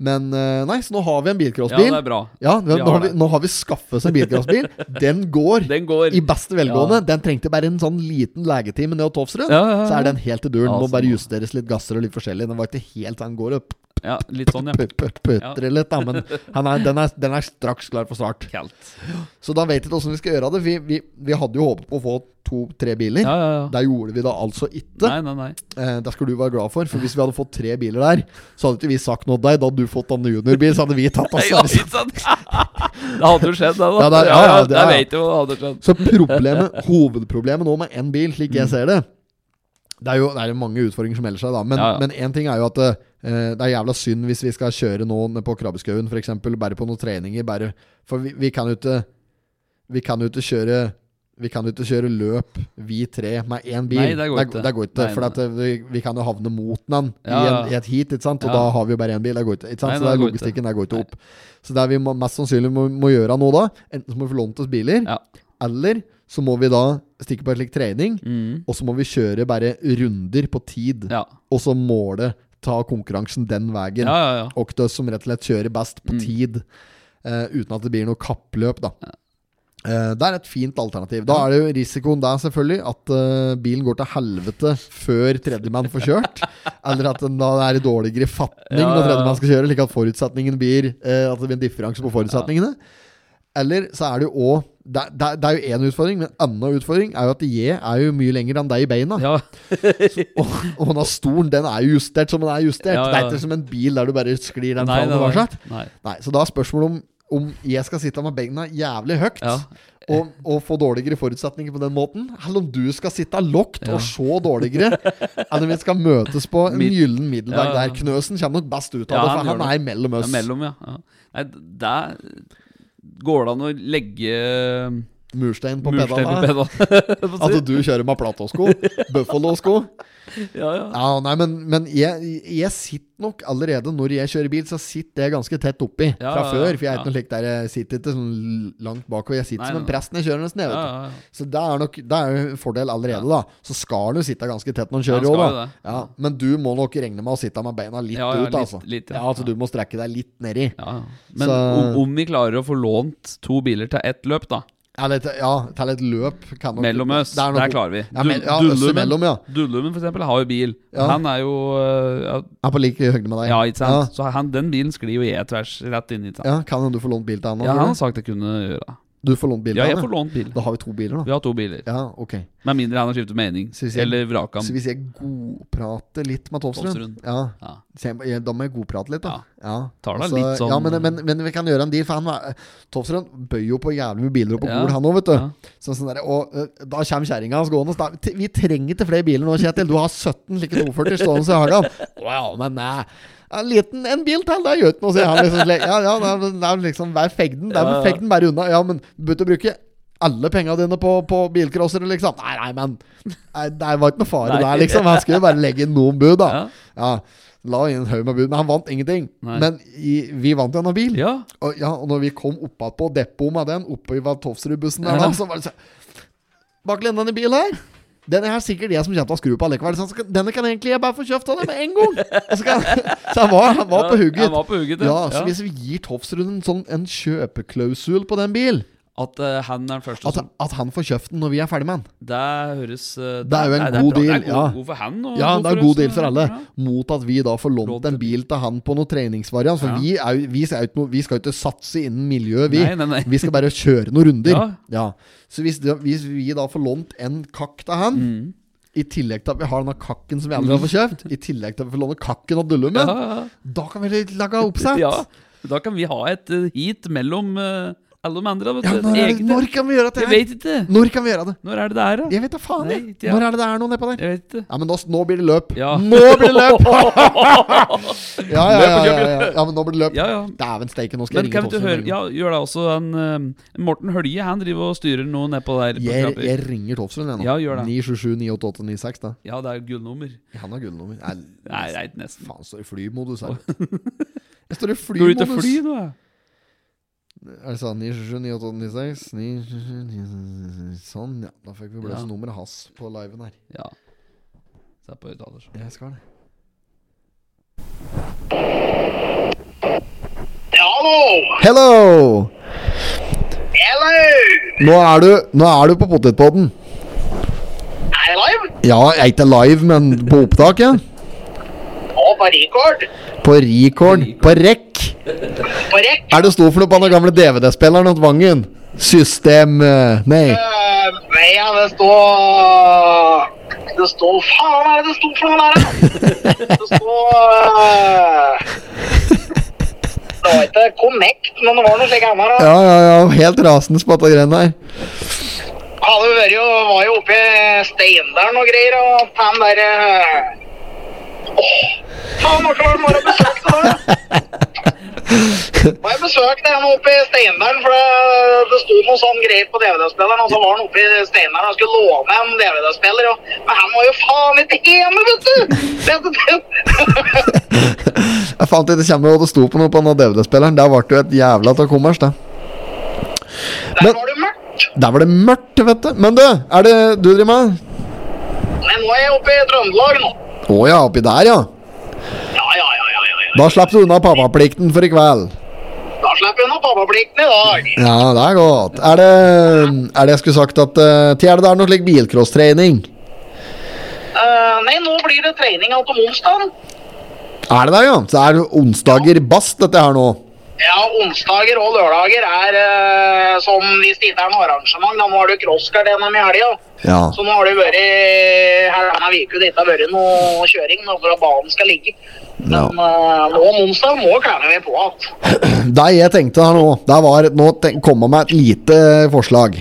[SPEAKER 2] Men eh, nei, så nå har vi en
[SPEAKER 1] Ja, det
[SPEAKER 2] bilcrossbil.
[SPEAKER 1] er bra.
[SPEAKER 2] Ja,
[SPEAKER 1] Vi
[SPEAKER 2] nå,
[SPEAKER 1] har
[SPEAKER 2] har vi,
[SPEAKER 1] det.
[SPEAKER 2] nå har vi skaffet oss en bilcrossbil. Den går
[SPEAKER 1] Den går.
[SPEAKER 2] i beste velgående.
[SPEAKER 1] Ja.
[SPEAKER 2] Den trengte bare en sånn liten legetime ned hos Tofsrud.
[SPEAKER 1] Ja, ja, ja.
[SPEAKER 2] Så er den helt i duren.
[SPEAKER 1] Ja,
[SPEAKER 2] Må
[SPEAKER 1] så
[SPEAKER 2] bare
[SPEAKER 1] bra.
[SPEAKER 2] justeres litt gasser og litt forskjellig. Den var ikke helt den går opp
[SPEAKER 1] Ja, litt sånn, ja.
[SPEAKER 2] putter
[SPEAKER 1] Ja.
[SPEAKER 2] litt, da. Men han er, den, er, den er straks klar for start.
[SPEAKER 1] Kaldt.
[SPEAKER 2] Så da vet vi ikke åssen vi skal gjøre det. Vi, vi, vi hadde jo håpet på å få to-tre biler.
[SPEAKER 1] Ja, ja, ja.
[SPEAKER 2] Der gjorde vi det altså ikke.
[SPEAKER 1] Nei, nei, nei.
[SPEAKER 2] Eh, det skal du være glad for, for hvis vi hadde fått tre biler der, så hadde ikke vi sagt noe til deg. Da hadde du fått en juniorbil, så hadde vi tatt oss.
[SPEAKER 1] Ja, ikke sant? Det hadde jo skjedd, det. da.
[SPEAKER 2] Ja, det er- ja, ja, det
[SPEAKER 1] Jeg
[SPEAKER 2] er-
[SPEAKER 1] vet jo hva det hadde skjedd.
[SPEAKER 2] Så problemet, hovedproblemet nå med én bil,
[SPEAKER 1] Mm.
[SPEAKER 2] slik jeg ser det Det er jo det er jo mange utfordringer som melder seg, da. Men
[SPEAKER 1] Ja, ja.
[SPEAKER 2] men én ting er jo at eh, det er jævla synd hvis vi skal kjøre nå ned på Krabbeskauen, f.eks. Bare på noen treninger. Bare, for vi, vi kan jo ikke Vi kan jo ikke kjøre vi kan jo ikke kjøre løp, vi tre, med én bil.
[SPEAKER 1] Nei, det går ikke.
[SPEAKER 2] Det, går ikke
[SPEAKER 1] Nei,
[SPEAKER 2] for at eh, vi, vi kan jo havne mot den i,
[SPEAKER 1] Ja, ja.
[SPEAKER 2] en, i et heat, ikke sant? og
[SPEAKER 1] Ja.
[SPEAKER 2] da har vi jo bare én bil. Det går ikke. ikke sant?
[SPEAKER 1] Nei,
[SPEAKER 2] så
[SPEAKER 1] det
[SPEAKER 2] det er
[SPEAKER 1] går ikke.
[SPEAKER 2] logistikken der går ikke
[SPEAKER 1] Nei.
[SPEAKER 2] opp. Så det vi må, mest sannsynlig må, må gjøre nå, da Enten så må vi få lånt oss biler,
[SPEAKER 1] Ja.
[SPEAKER 2] eller så må vi da stikke på en slik trening,
[SPEAKER 1] Mm.
[SPEAKER 2] og så må vi kjøre bare runder på tid.
[SPEAKER 1] Ja.
[SPEAKER 2] Og så måle ta konkurransen den veien.
[SPEAKER 1] ja, ja, ja.
[SPEAKER 2] Og det som rett og slett kjører best
[SPEAKER 1] Mm.
[SPEAKER 2] på tid, eh, uten at det blir noe kappløp, da. Eh, det er et fint alternativ. Da er det jo risikoen der, selvfølgelig, at eh, bilen går til helvete før tredjemann får kjørt. eller at den da er i dårligere fatning
[SPEAKER 1] Ja, ja,
[SPEAKER 2] når
[SPEAKER 1] ja.
[SPEAKER 2] tredjemann skal kjøre, slik at forutsetningen blir eh, At det blir en differanse på forutsetningene. Eller så er det jo òg det, det, det er jo én utfordring, men en annen utfordring er jo at jeg er jo mye lenger enn deg i beina.
[SPEAKER 1] Ja,
[SPEAKER 2] Og, og denne stolen den er jo justert som den er justert.
[SPEAKER 1] Ja, ja,
[SPEAKER 2] Det er
[SPEAKER 1] ja.
[SPEAKER 2] ikke som en bil der du bare sklir den
[SPEAKER 1] nei,
[SPEAKER 2] fram
[SPEAKER 1] nei,
[SPEAKER 2] og
[SPEAKER 1] nei.
[SPEAKER 2] tilbake.
[SPEAKER 1] nei.
[SPEAKER 2] Nei, Så da er spørsmålet om, om jeg skal sitte med beina jævlig høyt
[SPEAKER 1] Ja.
[SPEAKER 2] og, og få dårligere forutsetninger på den måten, eller om du skal sitte lågt
[SPEAKER 1] Ja.
[SPEAKER 2] og se dårligere, eller om vi skal møtes på en
[SPEAKER 1] Mid-
[SPEAKER 2] gyllen middelvei
[SPEAKER 1] Ja, ja.
[SPEAKER 2] der. Knøsen kommer nok best ut av
[SPEAKER 1] Ja,
[SPEAKER 2] det,
[SPEAKER 1] han
[SPEAKER 2] for han,
[SPEAKER 1] gjør det.
[SPEAKER 2] er mellom
[SPEAKER 1] Det
[SPEAKER 2] oss.
[SPEAKER 1] er mellom, ja. ja. Nei, der går det an å legge mm,
[SPEAKER 2] Murstein på Altså,
[SPEAKER 1] murstein på
[SPEAKER 2] pedalen.
[SPEAKER 1] pedalen.
[SPEAKER 2] At du kjører med platåsko. Buffalo-sko.
[SPEAKER 1] ja, ja.
[SPEAKER 2] Ja, nei, men, men jeg, jeg sitter nok allerede når jeg kjører bil, så sitter jeg ganske tett oppi
[SPEAKER 1] Ja,
[SPEAKER 2] fra
[SPEAKER 1] ja,
[SPEAKER 2] før.
[SPEAKER 1] ja.
[SPEAKER 2] For jeg er ikke
[SPEAKER 1] Ja.
[SPEAKER 2] noe slik der jeg sitter ikke sånn langt bakover. Jeg sitter
[SPEAKER 1] Nei,
[SPEAKER 2] som
[SPEAKER 1] nei,
[SPEAKER 2] en
[SPEAKER 1] nei.
[SPEAKER 2] prest når jeg kjører nesten. Jeg,
[SPEAKER 1] Ja,
[SPEAKER 2] vet du.
[SPEAKER 1] ja, ja.
[SPEAKER 2] Så det er, nok, det er jo en fordel allerede, da. Så skal du sitte ganske tett når du
[SPEAKER 1] Ja,
[SPEAKER 2] kjører
[SPEAKER 1] skal
[SPEAKER 2] òg,
[SPEAKER 1] jo
[SPEAKER 2] da.
[SPEAKER 1] det.
[SPEAKER 2] Ja, men du må nok regne med å sitte med beina litt
[SPEAKER 1] Ja, ja,
[SPEAKER 2] ut,
[SPEAKER 1] litt-
[SPEAKER 2] altså.
[SPEAKER 1] litt, ja.
[SPEAKER 2] ja. altså du må strekke deg litt nedi.
[SPEAKER 1] Ja, ja. Men
[SPEAKER 2] Så-
[SPEAKER 1] om, om vi klarer å få lånt to biler til ett løp, da.
[SPEAKER 2] Eller til- ja, til et løp kan nok
[SPEAKER 1] Mellom oss.
[SPEAKER 2] er
[SPEAKER 1] Der,
[SPEAKER 2] nok-
[SPEAKER 1] klarer vi.
[SPEAKER 2] Ja, men, ja,
[SPEAKER 1] Dul-
[SPEAKER 2] oss imellom, ja.
[SPEAKER 1] Dullumen, for eksempel, har jo bil.
[SPEAKER 2] Ja.
[SPEAKER 1] Han er jo øh, ja,
[SPEAKER 2] Jeg er på lik høyde med deg.
[SPEAKER 1] Ja, ikke sant? Så han, den bilen sklir jo jeg tvers rett inn, ikke sant?
[SPEAKER 2] Ja, Kan hende du får lånt bil til han.
[SPEAKER 1] Ja, han
[SPEAKER 2] tror
[SPEAKER 1] har sagt jeg kunne gjøre det.
[SPEAKER 2] du? Du får lånt bil til
[SPEAKER 1] Ja, jeg
[SPEAKER 2] han,
[SPEAKER 1] får lånt bil.
[SPEAKER 2] Da har vi to biler, da.
[SPEAKER 1] Vi har to biler.
[SPEAKER 2] Ja, ok
[SPEAKER 1] Med mindre han har skiftet mening.
[SPEAKER 2] Så hvis jeg-
[SPEAKER 1] Eller vraka
[SPEAKER 2] Så
[SPEAKER 1] han.
[SPEAKER 2] hvis jeg godprater litt med Tofsrud
[SPEAKER 1] Tofsrud.
[SPEAKER 2] ja,
[SPEAKER 1] Ja.
[SPEAKER 2] så jeg- jeg- Da må jeg godprate litt, da. Ja.
[SPEAKER 1] Tar da litt sånn-
[SPEAKER 2] ja men, men, men vi kan gjøre en deal, for han var- Tofsrud bøy jo på jævlig mye biler og på
[SPEAKER 1] Ja.
[SPEAKER 2] Gol, han òg, vet du.
[SPEAKER 1] Ja.
[SPEAKER 2] Sånn, sånn der, og eh, da kommer kjerringa hans gående. og sta- «T- Vi trenger ikke flere biler nå, Kjetil. Du har 17 slike 240 stående i hagen. Wow, men eh, nei. En liten en bil til, det gjør ikke noe, sier han. Liksom, slik. ja, ja, det er- det er liksom Vær fegden. Det er fegden bare unna. Ja, men du begynte å bruke alle penga dine på, på bilcrossere, liksom. Nei, nei, men nei, Det var ikke noe fare
[SPEAKER 1] Nei.
[SPEAKER 2] der, liksom. Han skulle jo bare legge inn noen bud, da.
[SPEAKER 1] Ja.
[SPEAKER 2] Ja. La inn en haug med bud, men han vant ingenting.
[SPEAKER 1] Nei.
[SPEAKER 2] Men i, vi vant jo en bil.
[SPEAKER 1] ja.
[SPEAKER 2] Og, ja, og når vi kom oppå depotet med den, oppe i Valtovsrud-bussen der,
[SPEAKER 1] Ja.
[SPEAKER 2] da, så var det sånn Baklenn, denne bilen her den er sikkert jeg som kommer til å skru på allikevel. Så han skal- denne kan egentlig jeg bare få kjøpt av deg med en gang. Og Så, kan, så han var, han var på hugget.
[SPEAKER 1] Han var på hugget,
[SPEAKER 2] ja, så hvis vi gir Tofsrud en sånn en kjøpeklausul på den bil,
[SPEAKER 1] At eh, han er den første
[SPEAKER 2] at,
[SPEAKER 1] som
[SPEAKER 2] at han får kjøpt den når vi er ferdig med den
[SPEAKER 1] Det høres eh,
[SPEAKER 2] Det er jo en
[SPEAKER 1] nei,
[SPEAKER 2] god
[SPEAKER 1] bra.
[SPEAKER 2] deal,
[SPEAKER 1] Det er god,
[SPEAKER 2] ja.
[SPEAKER 1] god for han. Og
[SPEAKER 2] Ja, det er
[SPEAKER 1] oss, eh,
[SPEAKER 2] god deal for
[SPEAKER 1] ja.
[SPEAKER 2] alle.
[SPEAKER 1] Ja.
[SPEAKER 2] Mot at vi da får lånt
[SPEAKER 1] Lånt
[SPEAKER 2] en
[SPEAKER 1] en
[SPEAKER 2] bil til han på noen treningsvariant. For
[SPEAKER 1] Ja.
[SPEAKER 2] vi, er, jo- vi, skal jo ikke noe, vi skal jo ikke satse innen miljøet, vi.
[SPEAKER 1] Nei, nei, nei.
[SPEAKER 2] Vi skal bare kjøre noen runder. Ja.
[SPEAKER 1] Ja.
[SPEAKER 2] Så hvis, det- hvis vi da får lånt en kakk til han,
[SPEAKER 1] Mm.
[SPEAKER 2] i tillegg til at vi har denne kakken som vi aldri har fått kjøpt, i tillegg til at vi får låne kakken og dulle med,
[SPEAKER 1] Ja, ja,
[SPEAKER 2] da kan vi lage
[SPEAKER 1] ja.
[SPEAKER 2] oppsett.
[SPEAKER 1] ja, da kan vi ha et eh, heat mellom eh, alle de andre. Vet
[SPEAKER 2] Ja,
[SPEAKER 1] du.
[SPEAKER 2] når, er det,
[SPEAKER 1] Egne.
[SPEAKER 2] når kan vi gjøre dette?
[SPEAKER 1] Jeg
[SPEAKER 2] her?
[SPEAKER 1] vet ikke.
[SPEAKER 2] Når kan vi gjøre det?
[SPEAKER 1] Når er det det er, da?
[SPEAKER 2] Jeg vet da faen, jeg.
[SPEAKER 1] Nei, ja.
[SPEAKER 2] Når er det det er noe nedpå der?
[SPEAKER 1] Jeg vet ikke.
[SPEAKER 2] Ja, men nå, nå blir det løp.
[SPEAKER 1] Ja.
[SPEAKER 2] Nå blir det løp! ja, ja, ja, ja, ja. ja, men nå blir det løp.
[SPEAKER 1] Ja, ja.
[SPEAKER 2] Dæven steike, nå skal
[SPEAKER 1] Men
[SPEAKER 2] jeg
[SPEAKER 1] kan
[SPEAKER 2] ringe
[SPEAKER 1] vi ikke
[SPEAKER 2] Tofsrud.
[SPEAKER 1] høre
[SPEAKER 2] med en
[SPEAKER 1] Ja,
[SPEAKER 2] gang.
[SPEAKER 1] gjør det også. En, eh, Morten Hølje han driver og styrer noe nedpå der. på
[SPEAKER 2] Jeg,
[SPEAKER 1] trapper.
[SPEAKER 2] jeg ringer Tofsrud, jeg nå.
[SPEAKER 1] Ja, gjør det.
[SPEAKER 2] 977 988 96, da.
[SPEAKER 1] Ja, det er gullnummer.
[SPEAKER 2] Han har gullnummer. Nei,
[SPEAKER 1] Nei, det er ikke nesten.
[SPEAKER 2] faen, står i flymodus her. vet du. Jeg står i
[SPEAKER 1] Går du ikke
[SPEAKER 2] flymodus.
[SPEAKER 1] fly nå? da?
[SPEAKER 2] Er det sånn 977 988 96 977 988 Sånn, ja. Da fikk vi blåse
[SPEAKER 1] Ja.
[SPEAKER 2] nummeret hans på liven her.
[SPEAKER 1] Ja. Se på høyttaler.
[SPEAKER 2] Jeg skal det.
[SPEAKER 6] Hallo!
[SPEAKER 2] Hello!
[SPEAKER 6] Hello!
[SPEAKER 2] Nå er du, nå er du på potetpodden.
[SPEAKER 6] Er jeg live?
[SPEAKER 2] Ja, jeg er ikke live, men på opptak, ja.
[SPEAKER 6] Og på record.
[SPEAKER 2] På record. På rekk.
[SPEAKER 6] På rekk.
[SPEAKER 2] Er det stor for noe på den gamle DVD-spilleren hos Vangen? System eh, Nei.
[SPEAKER 6] Eh, Nei, ja, det står Det står Faen, hva er det det står for noe der? da? Det står eh, Det var ikke Connect, men det var noe slikt annet. da.
[SPEAKER 2] Ja, ja, ja. Helt rasende på dette greiene her.
[SPEAKER 6] Hadde jo vært jo Var jo oppe i Steindalen og greier, og på den derre Faen, hva var det bare besøkte da? Må jeg besøkte en oppe i Steindalen, for det, det sto noe sånn greier på DVD-spilleren, og så var han oppe i Steindalen og skulle låne en DVD-spiller, og men han var jo faen ikke hjemme, vet du! Det, det, det.
[SPEAKER 2] Jeg fant ikke kjemme hva det sto på noe på den DVD-spilleren. Der ble det jo et jævla ta kommers, da.
[SPEAKER 6] Der var det mørkt.
[SPEAKER 2] Der var det mørkt, vet du. Men du, er det du driver med?
[SPEAKER 6] Men nå er jeg oppe i Trøndelag nå.
[SPEAKER 2] Å ja, oppi der, ja.
[SPEAKER 6] Ja, ja, ja, ja, ja. ja.
[SPEAKER 2] Da slapp du unna pappaplikten for i kveld.
[SPEAKER 6] Da slipper jeg unna pappaplikten i dag.
[SPEAKER 2] Ja, det er godt. Er det Er det jeg skulle sagt at uh, Til er det der noe slik bilcrosstrening?
[SPEAKER 6] Eh, nei, nå blir det trening alt om onsdagen.
[SPEAKER 2] Er det der, ja? Så er det onsdager bast, dette her nå.
[SPEAKER 6] Ja, onsdager og lørdager er eh, som hvis det ikke er noe arrangement. Da nå har du crosskart gjennom i helga.
[SPEAKER 2] Ja.
[SPEAKER 6] Så nå har det vært eh, her denne uka det ikke har vært noe kjøring da, for at banen skal ligge.
[SPEAKER 2] Ja.
[SPEAKER 6] Men eh, nå om onsdag må klemme vi på igjen.
[SPEAKER 2] Det jeg tenkte her nå, det var Nå tenk, kom jeg med et lite forslag.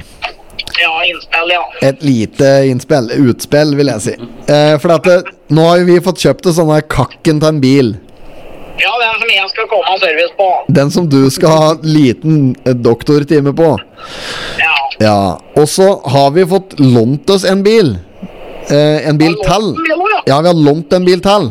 [SPEAKER 6] Ja, innspill, ja.
[SPEAKER 2] Et lite innspill. Utspill, vil jeg si. Eh, for at det, nå har jo vi fått kjøpt oss sånne kakken til en bil.
[SPEAKER 6] Ja, den som jeg skal komme av service på.
[SPEAKER 2] Den som du skal ha liten eh, doktortime på.
[SPEAKER 6] Ja.
[SPEAKER 2] Ja. Og så har vi fått lånt oss en bil. Eh, en bil til.
[SPEAKER 6] Ja.
[SPEAKER 2] Ja, vi har lånt en bil til.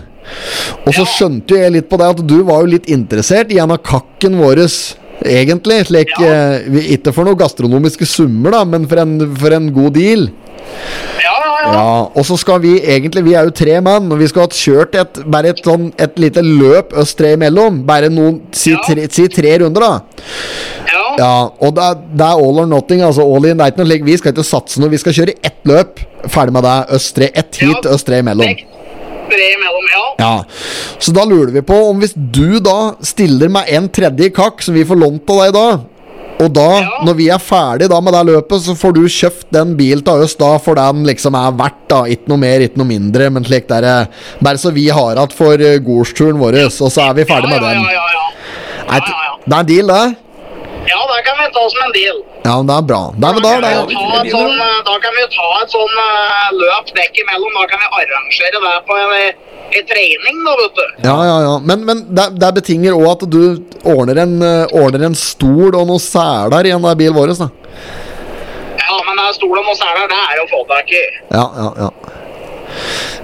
[SPEAKER 2] Og så skjønte jo jeg litt på deg at du var jo litt interessert i en av kakken våres, egentlig. Slik,
[SPEAKER 6] Ja.
[SPEAKER 2] eh, vi, ikke for noen gastronomiske summer, da, men for en, for en god deal.
[SPEAKER 6] Ja, ja, ja.
[SPEAKER 2] Ja, Og så skal vi egentlig, vi er jo tre mann, og vi skal ha kjørt et, bare et, sånn, et lite løp oss tre imellom. Bare noen, si,
[SPEAKER 6] Ja.
[SPEAKER 2] tre, si tre runder, da.
[SPEAKER 6] ja.
[SPEAKER 2] Ja, Og det er, det er all or nothing. altså all in, det er ikke noe slik, Vi skal ikke satse noe, vi skal kjøre ett løp. Ferdig med det. Oss tre, ett hit,
[SPEAKER 6] Ja.
[SPEAKER 2] oss tre imellom.
[SPEAKER 6] Vekt. Tre imellom, ja.
[SPEAKER 2] Ja, så da lurer vi på om hvis du da stiller med en tredje kakk som vi får lånt av deg da, Og da,
[SPEAKER 6] Ja.
[SPEAKER 2] når vi er ferdig da med det løpet, så får du kjøpt den bilen til oss da for den liksom er verdt, da. Ikke noe mer, ikke noe mindre, men slik der eh, Bare så vi har igjen for eh, gårdsturen vår, og så er vi ferdig med
[SPEAKER 6] ja,
[SPEAKER 2] den.
[SPEAKER 6] ja, ja, ja.
[SPEAKER 2] Nei,
[SPEAKER 6] ja, ja.
[SPEAKER 2] Det er en deal, det.
[SPEAKER 6] ja, det kan vi ta som en deal.
[SPEAKER 2] Ja, men det er bra. Det er med det.
[SPEAKER 6] Da kan vi jo ta et sånn, eh, da kan vi jo ta et sånn eh, løp dekk imellom. Da kan vi arrangere det på en, eh, en trening, da, vet du.
[SPEAKER 2] Ja, ja, ja. Men, men det, det betinger òg at du ordner en, eh, ordner en stol og noen seler i den der bilen vår. Da.
[SPEAKER 6] Ja, men det er stol og noe særlig, det er jo å få tak i.
[SPEAKER 2] Ja, ja, ja.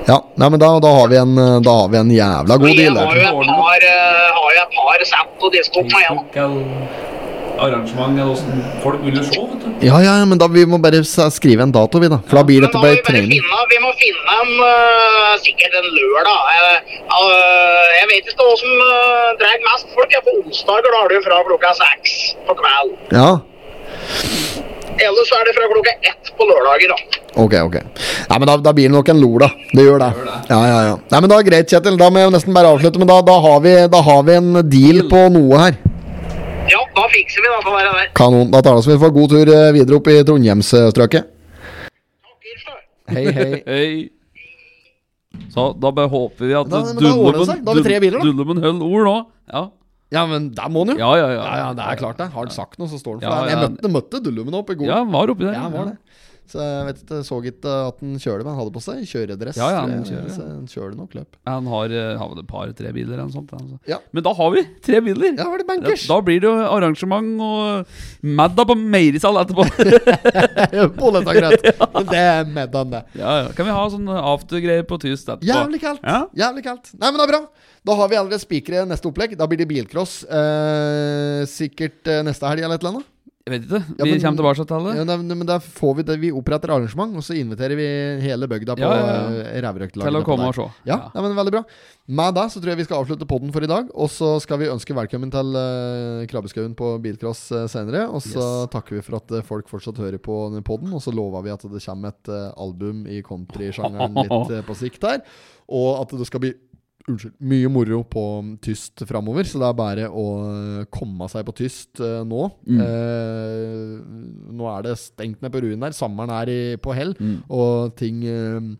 [SPEAKER 2] Ja, nei, men da, da, har vi en, eh, da har vi en jævla god
[SPEAKER 6] Jeg
[SPEAKER 2] deal.
[SPEAKER 6] har
[SPEAKER 2] Der.
[SPEAKER 6] jo et par, eh, har jo et par sett og diskot med igjen.
[SPEAKER 1] Arrangement eller åssen folk vil se, vet du.
[SPEAKER 2] Ja, ja, ja, men da vi må bare s- skrive en dato, vi, da. For da blir
[SPEAKER 6] Men
[SPEAKER 2] dette
[SPEAKER 6] da må
[SPEAKER 2] bare
[SPEAKER 6] vi bare
[SPEAKER 2] trening.
[SPEAKER 6] finne, vi må finne en, eh, sikkert en lørdag. Eh, eh, jeg vet ikke hva som uh, dreier mest folk. er På onsdager da er det jo fra klokka seks på kveld.
[SPEAKER 2] Ja,
[SPEAKER 6] Ellers er det fra klokka ett på lørdager. da.
[SPEAKER 2] ok, ok. Nei, men da, da blir det nok en lor, da. Det gjør det. Ja, ja, ja. Nei, men da er greit, Kjetil. Da må jeg jo nesten bare avslutte, men da, da, har, vi, da har vi en deal på noe her.
[SPEAKER 6] Ja, da fikser vi dette der. der.
[SPEAKER 2] Kanon. Da tar det oss vi får god tur eh, videre opp i Trondheimsstrøket.
[SPEAKER 6] Takk, Ilse.
[SPEAKER 2] Hei, hei.
[SPEAKER 1] Hei. Så da bare håper vi at
[SPEAKER 2] Da- men da ordner det seg. Da har vi tre biler, da.
[SPEAKER 1] Dullemen holder ord nå. Ja,
[SPEAKER 2] Ja, men der må han jo.
[SPEAKER 1] ja, ja. ja.
[SPEAKER 2] Ja, ja, det er klart det. Har han sagt noe, så står han for
[SPEAKER 1] Ja,
[SPEAKER 2] det.
[SPEAKER 1] ja.
[SPEAKER 2] Jeg møtte, møtte Dullumen opp i går.
[SPEAKER 1] Ja, han var oppi der.
[SPEAKER 2] Ja, han var det. Så jeg vet ikke, jeg så ikke at han kjører, men han hadde på seg kjøredress.
[SPEAKER 1] Ja, ja, han
[SPEAKER 2] tror jeg.
[SPEAKER 1] kjører, ja.
[SPEAKER 2] Så han kjører nok løp.
[SPEAKER 1] Han har, eh, har vel et par-tre biler eller noe sånt. altså.
[SPEAKER 2] Ja.
[SPEAKER 1] Men da har vi tre biler.
[SPEAKER 2] Ja, var det
[SPEAKER 1] Da,
[SPEAKER 2] bankers?
[SPEAKER 1] da blir det jo arrangement og Madda på Meirisal etterpå.
[SPEAKER 2] Bollet er greit. Det er med han, det.
[SPEAKER 1] ja, ja. Kan vi ha sånn aftergreier på tyst etterpå?
[SPEAKER 2] Jævlig kaldt.
[SPEAKER 1] Ja.
[SPEAKER 2] Jævlig kaldt. Nei, men det er bra. Da har vi allerede spikere neste opplegg. Da blir det bilcross. Eh, sikkert eh, neste helg eller et eller annet.
[SPEAKER 1] Jeg vet ikke.
[SPEAKER 2] Ja,
[SPEAKER 1] Vi
[SPEAKER 2] men-
[SPEAKER 1] kommer tilbake til det.
[SPEAKER 2] Ja, da- men da får vi det. Vi oppretter arrangement, og så inviterer vi hele bygda på
[SPEAKER 1] Ja, ja, ja.
[SPEAKER 2] eh, Rævrøktlaget
[SPEAKER 1] Til å
[SPEAKER 2] nedpå
[SPEAKER 1] komme
[SPEAKER 2] der.
[SPEAKER 1] og se.
[SPEAKER 2] Ja, Nei, men veldig bra. Med det så tror jeg vi skal avslutte podden for i dag. Og så skal vi ønske velkommen til eh, Krabbeskauen på bilcross eh, senere. Og så
[SPEAKER 1] Yes.
[SPEAKER 2] takker vi for at eh, folk fortsatt hører på denne podden. Og så lover vi at det kommer et eh, album i countrysjangeren litt eh, på sikt her. Og at det skal bli Unnskyld. Mye moro på mm, tyst framover, så det er bare å eh, komme seg på tyst eh, nå. Eh, nå er det stengt ned på ruinen her. Sommeren er i, på hell, og ting eh,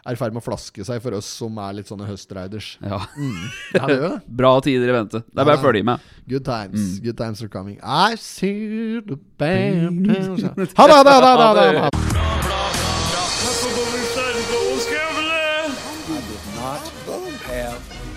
[SPEAKER 2] er i ferd med å flaske seg for oss som er litt sånne høstriders.
[SPEAKER 1] Ja.
[SPEAKER 2] Mm. Ja, det Mm. gjør det.
[SPEAKER 1] Bra tider i vente. Det er bare å følge med.
[SPEAKER 2] Good times. Good times are coming. I see the band. Ha det, ha det, ha det! Ha det, ha det.
[SPEAKER 3] I did not have